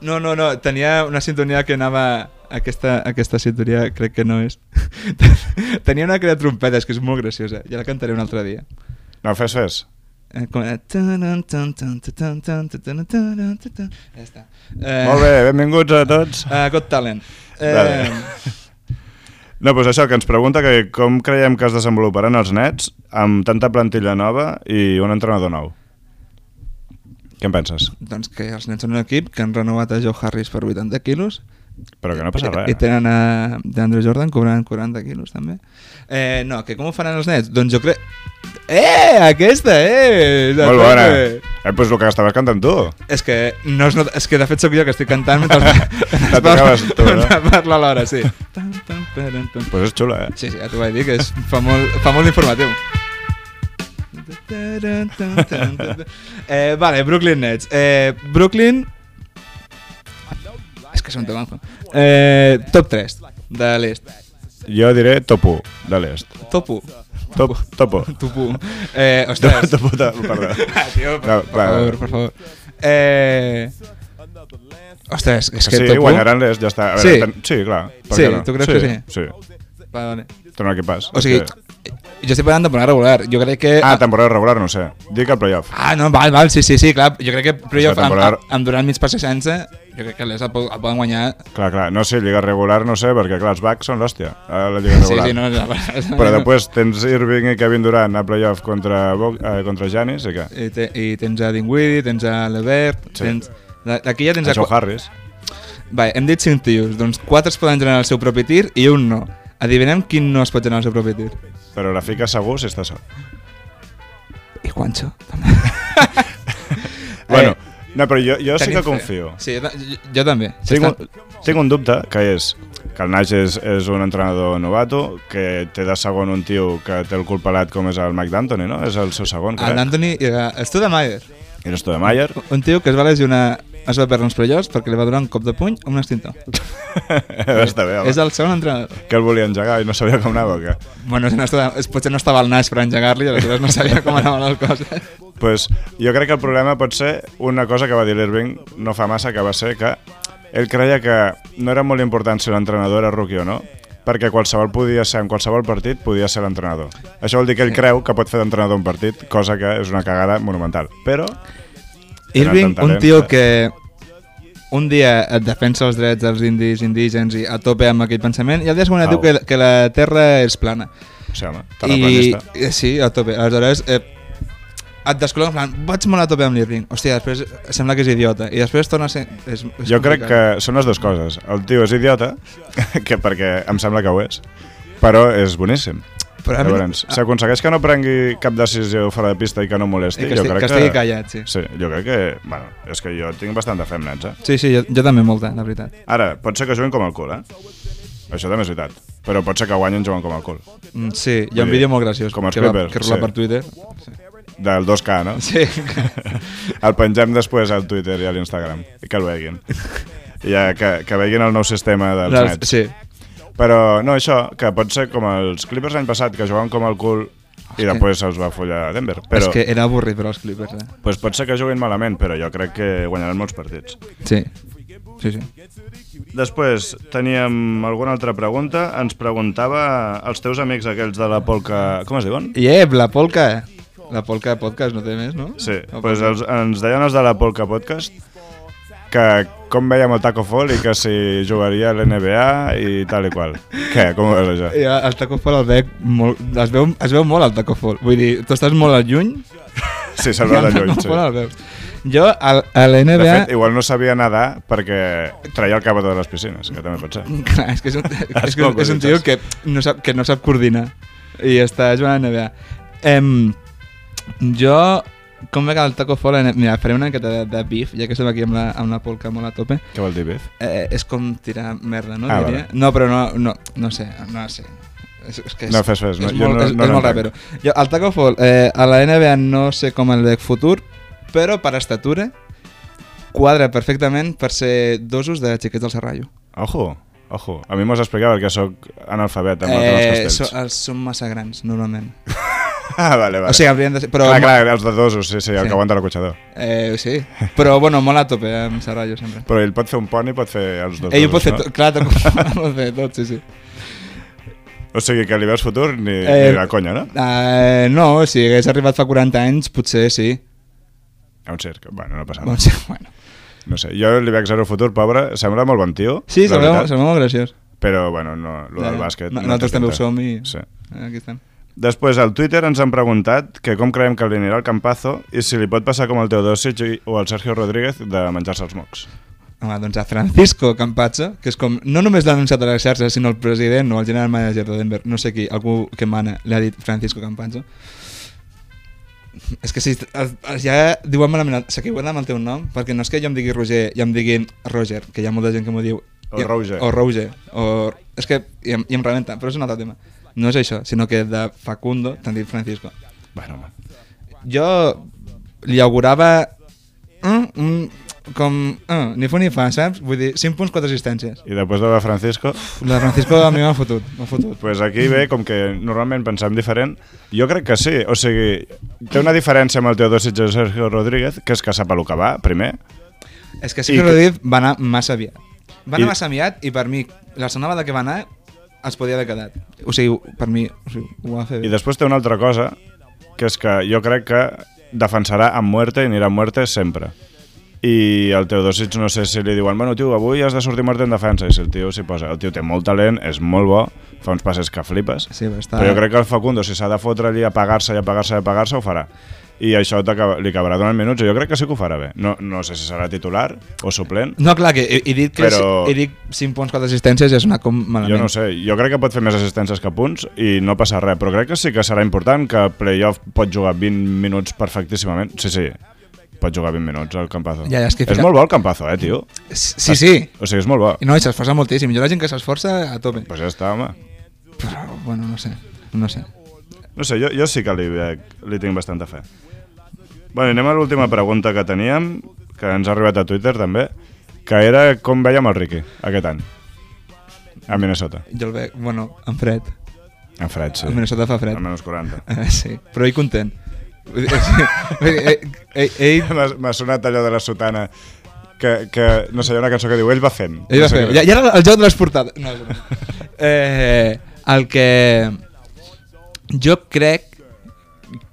[SPEAKER 3] No, no, no, tenia una sintonia que anava... Aquesta, aquesta sintonia crec que no és. tenia una que era trompetes, que és molt graciosa. Ja la cantaré un altre dia.
[SPEAKER 2] No, fes, fes.
[SPEAKER 3] Eh, Com... era, tanan, tan, tan, tan, tan, tan, tan, tan, tan, tan, tan. Ja està. Eh,
[SPEAKER 2] Eh. Molt bé, benvinguts a tots.
[SPEAKER 3] Eh, Got Talent. Eh,
[SPEAKER 2] Vale. No, doncs això, que ens pregunta que com creiem que es desenvoluparan els nets amb tanta plantilla nova i un entrenador nou. Què en penses?
[SPEAKER 3] doncs que els nens són un equip que han renovat a Joe Harris per 80 quilos
[SPEAKER 2] Però que no passa res.
[SPEAKER 3] I tenen a DeAndre Jordan cobrant 40 quilos, també. Eh, no, que com ho faran els nets? Doncs jo crec... Eh, aquesta, eh!
[SPEAKER 2] Molt bona.
[SPEAKER 3] Eh,
[SPEAKER 2] Eh, doncs el que estaves cantant tu.
[SPEAKER 3] És que, no es nota, és que de fet sóc jo que estic cantant mentre
[SPEAKER 2] La tocaves tu, no?
[SPEAKER 3] mentre parla l'hora, sí. Tan, tan, taran, tan.
[SPEAKER 2] Doncs pues és xula, eh?
[SPEAKER 3] Sí, sí, ja t'ho vaig dir, que és, fa, molt, fa molt informatiu. Taran, tan, tan, tan, tan. Eh, vale, Brooklyn Nets. Eh, Brooklyn... És que és un tema. Eh, top 3 de l'est.
[SPEAKER 2] Jo diré top 1 de l'est.
[SPEAKER 3] Top 1.
[SPEAKER 2] Top, top 1.
[SPEAKER 3] Top 1. Eh,
[SPEAKER 2] Top,
[SPEAKER 3] ostres.
[SPEAKER 2] top 1 de, perdó.
[SPEAKER 3] Ah, tio, per,
[SPEAKER 2] No, va,
[SPEAKER 3] per
[SPEAKER 2] va.
[SPEAKER 3] favor, per favor. Eh... Ostres, és que
[SPEAKER 2] Sí,
[SPEAKER 3] top 1...
[SPEAKER 2] guanyaran l'est, ja està. A veure,
[SPEAKER 3] Sí.
[SPEAKER 2] ten... sí clar. per
[SPEAKER 3] Sí,
[SPEAKER 2] què no?
[SPEAKER 3] tu creus que sí?
[SPEAKER 2] Sí.
[SPEAKER 3] Vale.
[SPEAKER 2] Té un equipàs.
[SPEAKER 3] O sigui,
[SPEAKER 2] Que-
[SPEAKER 3] jo estic parlant de temporada regular. Jo crec que...
[SPEAKER 2] Ah, temporada regular, no sé. Dic el playoff.
[SPEAKER 3] Ah, no, val, val, sí, sí, sí, clar. Jo crec que playoff
[SPEAKER 2] Aquesta
[SPEAKER 3] amb,
[SPEAKER 2] temporada-
[SPEAKER 3] amb durant mig per 60, jo crec que l'ESA el, po- el poden guanyar.
[SPEAKER 2] Clar, clar, no sé, lliga regular no sé, perquè clar, els backs són l'hòstia, a la lliga regular.
[SPEAKER 3] Sí, sí, no, no,
[SPEAKER 2] Però després tens Irving i Kevin Durant a playoff contra, Bo eh, contra Giannis i què?
[SPEAKER 3] I, te, I tens a Dinwiddie, tens a Levert,
[SPEAKER 2] Sí.
[SPEAKER 3] sí. tens... la- Aquí ja tens
[SPEAKER 2] Això
[SPEAKER 3] a...
[SPEAKER 2] Harris.
[SPEAKER 3] Va, hem dit 5 tios, doncs 4 es poden generar el seu propi tir i un no. Adivinem quin no es pot generar el seu propi tir.
[SPEAKER 2] Però la fica segur si està sol.
[SPEAKER 3] Eh, I Juancho.
[SPEAKER 2] Bueno, no, però jo, jo sí
[SPEAKER 3] tenim
[SPEAKER 2] que
[SPEAKER 3] fe.
[SPEAKER 2] confio.
[SPEAKER 3] Sí, jo, ta- jo, jo també.
[SPEAKER 2] Tinc
[SPEAKER 3] S'estan-
[SPEAKER 2] un, tinc un dubte, que és que el Nash és, és un entrenador novato, que té de segon un tio que té el cul pelat com és el Mike D'Antoni, no? És el seu segon,
[SPEAKER 3] El
[SPEAKER 2] crec.
[SPEAKER 3] D'Antoni i el Studamayer.
[SPEAKER 2] I no de Mayer.
[SPEAKER 3] Un tio que es va lesionar es va perdre uns playoffs perquè li va donar un cop de puny amb un extintor.
[SPEAKER 2] està bé, home.
[SPEAKER 3] És el segon entrenador.
[SPEAKER 2] Que el volia engegar i no sabia com anava, o què?
[SPEAKER 3] Bueno, si no estava, és- potser no estava al nas per engegar-li, aleshores no sabia com anaven les coses.
[SPEAKER 2] pues, jo crec que el problema pot ser una cosa que va dir l'Irving no fa massa, que va ser que ell creia que no era molt important si l'entrenador era rookie o no, perquè qualsevol podia ser, en qualsevol partit podia ser l'entrenador. Això vol dir que ell creu que pot fer d'entrenador un partit, cosa que és una cagada monumental. Però,
[SPEAKER 3] Irving,
[SPEAKER 2] tant
[SPEAKER 3] un
[SPEAKER 2] talent,
[SPEAKER 3] tio
[SPEAKER 2] eh?
[SPEAKER 3] que un dia et defensa els drets dels indis, indígens i a tope amb aquell pensament, i el dia següent et
[SPEAKER 2] Au.
[SPEAKER 3] diu que, que la terra és plana.
[SPEAKER 2] o sigui, home,
[SPEAKER 3] I,
[SPEAKER 2] terraplanista.
[SPEAKER 3] eh, sí, a tope. Aleshores, eh, et descol·loca en plan, vaig molt a tope amb l'Irving. Hòstia, després eh, sembla que és idiota. I després torna a ser... És, és
[SPEAKER 2] Jo crec que
[SPEAKER 3] complicat.
[SPEAKER 2] són les dues coses. El tio és idiota, que perquè em sembla que ho és, però és boníssim.
[SPEAKER 3] Però, a mi-
[SPEAKER 2] Llavors, si aconsegueix que no prengui cap decisió fora de pista i que no molesti,
[SPEAKER 3] I que,
[SPEAKER 2] jo
[SPEAKER 3] estigui,
[SPEAKER 2] crec
[SPEAKER 3] que estigui callat, sí.
[SPEAKER 2] Sí, jo crec que... Bueno, és que jo tinc bastant de fe amb nens, eh?
[SPEAKER 3] Sí, sí, jo, jo també molta, la veritat.
[SPEAKER 2] Ara, pot ser que juguin com el cul, eh? Això també és veritat. Però pot ser que guanyin jugant com el cul.
[SPEAKER 3] Mm, sí, hi ha
[SPEAKER 2] Vull
[SPEAKER 3] un
[SPEAKER 2] dir,
[SPEAKER 3] vídeo molt graciós
[SPEAKER 2] com els
[SPEAKER 3] que, va,
[SPEAKER 2] Clippers,
[SPEAKER 3] que rola
[SPEAKER 2] sí.
[SPEAKER 3] per Twitter.
[SPEAKER 2] Del 2K, no?
[SPEAKER 3] Sí.
[SPEAKER 2] El pengem després al Twitter i a l'Instagram. I que el veguin. I ja, que, que veguin el nou sistema dels
[SPEAKER 3] Les-
[SPEAKER 2] nets.
[SPEAKER 3] sí.
[SPEAKER 2] Però, no, això, que pot ser com els Clippers l'any passat, que jugaven com el cul i
[SPEAKER 3] Ah, que-
[SPEAKER 2] després se'ls va follar a Denver.
[SPEAKER 3] Però... És
[SPEAKER 2] Però
[SPEAKER 3] que era avorrit per als Clippers, eh?
[SPEAKER 2] pues pot ser que juguin malament, però jo crec que guanyaran molts partits.
[SPEAKER 3] Sí. Sí, sí.
[SPEAKER 4] Després teníem alguna altra pregunta. Ens preguntava els teus amics aquells de la polca... Com es diuen?
[SPEAKER 3] I Ep, la polca. eh. La polca podcast no té més, no?
[SPEAKER 2] Sí,
[SPEAKER 3] No,
[SPEAKER 2] pues els, ens deien els de la Polka Podcast que com veiem el Taco Fall i que si jugaria a l'NBA i tal i qual. Què? Com ho veus això?
[SPEAKER 3] I el Taco Fall el veig molt... Es veu, es veu molt el Taco Fall. Vull dir, tu estàs molt al lluny
[SPEAKER 2] Sí, se'l va de
[SPEAKER 3] i el
[SPEAKER 2] lluny,
[SPEAKER 3] Taco
[SPEAKER 2] sí.
[SPEAKER 3] Fall el veus. Jo, al- a
[SPEAKER 2] De
[SPEAKER 3] l'NBA...
[SPEAKER 2] fet, igual no sabia nedar perquè traia el cap de les piscines, que també pot ser.
[SPEAKER 3] Clar, és que és un, és que
[SPEAKER 2] poc,
[SPEAKER 3] és un
[SPEAKER 2] ho
[SPEAKER 3] tio
[SPEAKER 2] dius.
[SPEAKER 3] que no, sap, que no sap coordinar i està jugant a NBA. Em, jo, com veig el Taco Fall, en- mira, faré una miqueta de, de beef, ja que estem aquí amb la, amb la polca molt a tope.
[SPEAKER 2] Què vol dir, Biff?
[SPEAKER 3] Eh, és com tirar merda, no?
[SPEAKER 2] Ah,
[SPEAKER 3] Diria.
[SPEAKER 2] vale.
[SPEAKER 3] No, però no, no, no sé, no sé. És, és que és,
[SPEAKER 2] No, fes, fes, no,
[SPEAKER 3] És
[SPEAKER 2] jo
[SPEAKER 3] molt,
[SPEAKER 2] no-
[SPEAKER 3] és,
[SPEAKER 2] no
[SPEAKER 3] és molt
[SPEAKER 2] l'entenc.
[SPEAKER 3] rapero. Jo, el Taco Fall, eh, a la NBA no sé com el veig futur, però per estatura quadra perfectament per ser dosos de xiquets del Serrallo.
[SPEAKER 2] Ojo, ojo. A mi m'ho has explicat perquè sóc analfabet amb el tema dels
[SPEAKER 3] Eh, so,
[SPEAKER 2] castells.
[SPEAKER 3] els són massa grans, normalment.
[SPEAKER 2] Ah, vale, vale.
[SPEAKER 3] O sigui, haurien de ser... Però,
[SPEAKER 2] clar, clar, els de dosos, sí, sí, el
[SPEAKER 3] Sí.
[SPEAKER 2] que aguanta el cotxador.
[SPEAKER 3] Eh, sí, però bueno, molt a tope eh, amb Serrallo sempre.
[SPEAKER 2] Però ell pot fer un pont i pot fer els dos
[SPEAKER 3] Ell ho
[SPEAKER 2] dosos,
[SPEAKER 3] pot fer
[SPEAKER 2] no?
[SPEAKER 3] tot, clar, tot, pot fer tot, sí, sí.
[SPEAKER 2] O sigui que li veus futur ni,
[SPEAKER 3] Eh,
[SPEAKER 2] ni la conya, no?
[SPEAKER 3] Eh, no, si hagués arribat fa 40 anys, potser sí.
[SPEAKER 2] A un circ. Bueno, no passa res.
[SPEAKER 3] Bon, sí, Doncs, bueno.
[SPEAKER 2] No sé, jo li veig zero futur, pobre. Sembla molt bon tio.
[SPEAKER 3] sí
[SPEAKER 2] la
[SPEAKER 3] sembla,
[SPEAKER 2] veritat,
[SPEAKER 3] sembla molt graciós.
[SPEAKER 2] Però, bueno, no, lo del
[SPEAKER 3] Ja,
[SPEAKER 2] bàsquet...
[SPEAKER 3] no- nosaltres
[SPEAKER 2] té
[SPEAKER 3] també ho
[SPEAKER 2] pinta.
[SPEAKER 3] som i-
[SPEAKER 2] Sí.
[SPEAKER 3] Eh, Aquí estem.
[SPEAKER 2] Després, al Twitter ens han preguntat que com creiem que li anirà el Campazo i si li pot passar com el Teodosic i- o el Sergio Rodríguez de menjar-se els mocs.
[SPEAKER 3] Home, doncs a Francisco Campazzo, que és com, no només l'ha anunciat a les xarxes, sinó el president o el general manager de Denver, no sé qui, algú que mana, li ha dit Francisco Campazzo. És que si es- es- ja diuen malament, el- s'equivoquen amb el teu nom, perquè no és que jo em digui Roger i em diguin Roger, que hi ha molta gent que m'ho diu.
[SPEAKER 2] O Roger.
[SPEAKER 3] O Roger. O... És que i em, i em rebenta, però és un altre tema. No és això, sinó que de Facundo t'han dit Francisco.
[SPEAKER 2] Bueno, home.
[SPEAKER 3] Jo li augurava mm, mm, com mm, ni fu ni fa, saps? Vull dir, 5 punts, 4 assistències.
[SPEAKER 2] I després de la Francisco...
[SPEAKER 3] La de Francisco a mi m'ha fotut, m'ha fotut.
[SPEAKER 2] Pues aquí ve, com que normalment pensem diferent, jo crec que sí, o sigui, té una diferència amb el Teodosic i el Sergio Rodríguez, que és que sap a lo que va, primer,
[SPEAKER 3] És que
[SPEAKER 2] I
[SPEAKER 3] Sergio
[SPEAKER 2] que-
[SPEAKER 3] Rodríguez va anar massa aviat. Va
[SPEAKER 2] I-
[SPEAKER 3] anar massa aviat i per mi la segona vegada que va anar es podia haver quedat. O sigui, per mi o sigui, ho va fer bé.
[SPEAKER 2] I després té una altra cosa, que és que jo crec que defensarà a muerte i anirà a muerte sempre. I el Teodosic no sé si li diuen bueno tio, avui has de sortir mort en defensa i si el tio s'hi posa, el tio té molt talent, és molt bo fa uns passes que flipes
[SPEAKER 3] Sí, va estar...
[SPEAKER 2] però jo crec que el Facundo si s'ha de fotre allí a pagar-se i a pagar-se i a pagar-se ho farà i això t'acaba- li acabarà donant minuts i jo crec que sí que ho farà bé no, no sé si serà titular o suplent
[SPEAKER 3] No, clar, que he, he dit que
[SPEAKER 2] Però-
[SPEAKER 3] però... he dit 5 punts, 4 assistències i ha sonat com malament.
[SPEAKER 2] Jo no ho sé, jo crec que pot fer més assistències que punts i no passa res, però crec que sí que serà important que playoff pot jugar 20 minuts perfectíssimament. Sí, sí, pot jugar 20 minuts al Campazo.
[SPEAKER 3] Ja, ja, és que
[SPEAKER 2] és
[SPEAKER 3] fica-
[SPEAKER 2] molt bo el Campazo, eh, tio?
[SPEAKER 3] Sí, sí.
[SPEAKER 2] O sigui, és molt bo.
[SPEAKER 3] I no, i s'esforça moltíssim. Jo la gent que s'esforça a tope.
[SPEAKER 2] Pues ja està, home.
[SPEAKER 3] Però, bueno, no sé. No sé.
[SPEAKER 2] No sé, jo, jo sí que li, eh, li tinc bastanta fe. Bueno, anem a l'última pregunta que teníem, que ens ha arribat a Twitter també, que era com veiem el Ricky aquest any a Minnesota.
[SPEAKER 3] Jo el veig, bueno, en fred.
[SPEAKER 2] En fred, sí.
[SPEAKER 3] A Minnesota fa fred.
[SPEAKER 2] A menys 40.
[SPEAKER 3] Eh, sí, però ell content. Vull dir, sí. Vull dir, eh, eh, Ell,
[SPEAKER 2] M'ha- M'ha sonat allò de la sotana que, que no sé, hi ha una cançó que diu ell va fent.
[SPEAKER 3] ell
[SPEAKER 2] no
[SPEAKER 3] va
[SPEAKER 2] sé
[SPEAKER 3] fer.
[SPEAKER 2] què.
[SPEAKER 3] Ja, ja era el joc de les portades. No, és broma. eh, el que... Jo crec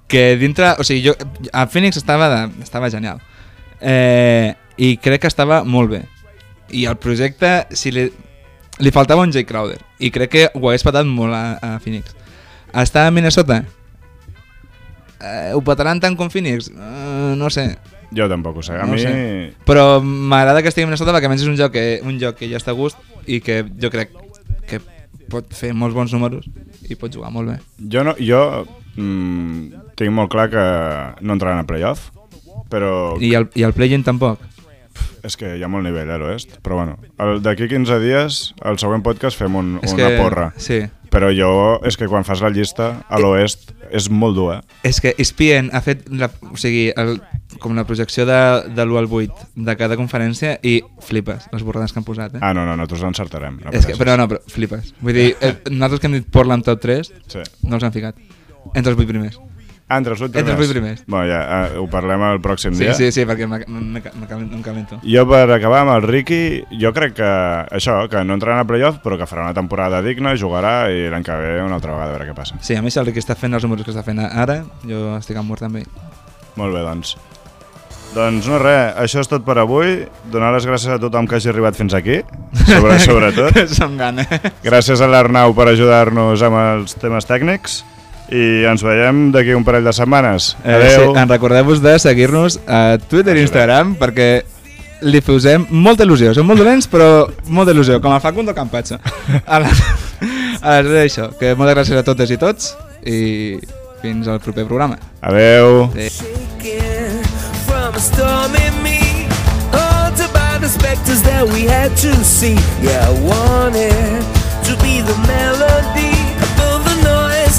[SPEAKER 3] que dintre... O sigui, jo, a Phoenix estava, de, estava genial. Eh, I crec que estava molt bé. I el projecte, si li, li faltava un Jay Crowder. I crec que ho hagués patat molt a, a Phoenix. Està a Minnesota? Eh, ho petaran tant com Phoenix? Eh, no sé.
[SPEAKER 2] Jo tampoc ho sé. A
[SPEAKER 3] No
[SPEAKER 2] mi...
[SPEAKER 3] sé. Però m'agrada que estigui a Minnesota perquè almenys és un joc, que, un joc que ja està a gust i que jo crec que pot fer molts bons números i pot jugar molt bé.
[SPEAKER 2] Jo, no, jo mm, tinc molt clar que no entraran a playoff, però
[SPEAKER 3] I el, i el play-in tampoc.
[SPEAKER 2] és que hi ha molt nivell a l'oest. Però bueno, el- d'aquí 15 dies, el següent podcast fem un,
[SPEAKER 3] És
[SPEAKER 2] una
[SPEAKER 3] que,
[SPEAKER 2] porra.
[SPEAKER 3] Sí.
[SPEAKER 2] Però jo, és que quan fas la llista,
[SPEAKER 3] Eh.
[SPEAKER 2] a l'oest és molt dur, eh?
[SPEAKER 3] És que ESPN ha fet la, o sigui, el, com la projecció de, de l'1 al 8 de cada conferència i flipes les borrades que han posat. Eh?
[SPEAKER 2] Ah, no, no, nosaltres l'encertarem. No
[SPEAKER 3] és que,
[SPEAKER 2] pateixis.
[SPEAKER 3] però no, però flipes. Vull dir, eh, nosaltres que hem dit Portland top 3
[SPEAKER 2] Sí.
[SPEAKER 3] no els han ficat. Entre els 8 primers.
[SPEAKER 2] Ah, entre els vuit
[SPEAKER 3] Entre els
[SPEAKER 2] primers.
[SPEAKER 3] vuit primers.
[SPEAKER 2] Bueno, ja, eh, ho parlem el pròxim
[SPEAKER 3] Sí,
[SPEAKER 2] dia.
[SPEAKER 3] sí, sí, perquè m'ha- m'ha- m'ha calen- em calento.
[SPEAKER 2] Jo per acabar amb el Ricky, jo crec que això, que no entrarà a playoff, però que farà una temporada digna, jugarà i l'any que ve una altra vegada a veure què passa.
[SPEAKER 3] Sí, a més el que està fent els números que està fent ara, jo estic amb mort també.
[SPEAKER 2] Molt bé, doncs. Doncs no res, això és tot per avui. Donar les gràcies a tothom que hagi arribat fins aquí, sobre, sobretot.
[SPEAKER 3] Som gana.
[SPEAKER 2] Gràcies a l'Arnau per ajudar-nos amb els temes tècnics i ens veiem d'aquí un parell de setmanes. Adeu.
[SPEAKER 3] Eh, en recordeu-vos de seguir-nos a Twitter i Instagram perquè li posem molta il·lusió. Som molt dolents, però molta il·lusió, com el Facundo Campatxo. Aleshores, això, que moltes gràcies a totes i tots i fins al proper programa.
[SPEAKER 2] Adeu.
[SPEAKER 5] shaken from a storm in me. Haunted by the specters that we had to see. Yeah, I wanted to be the melody above the noise,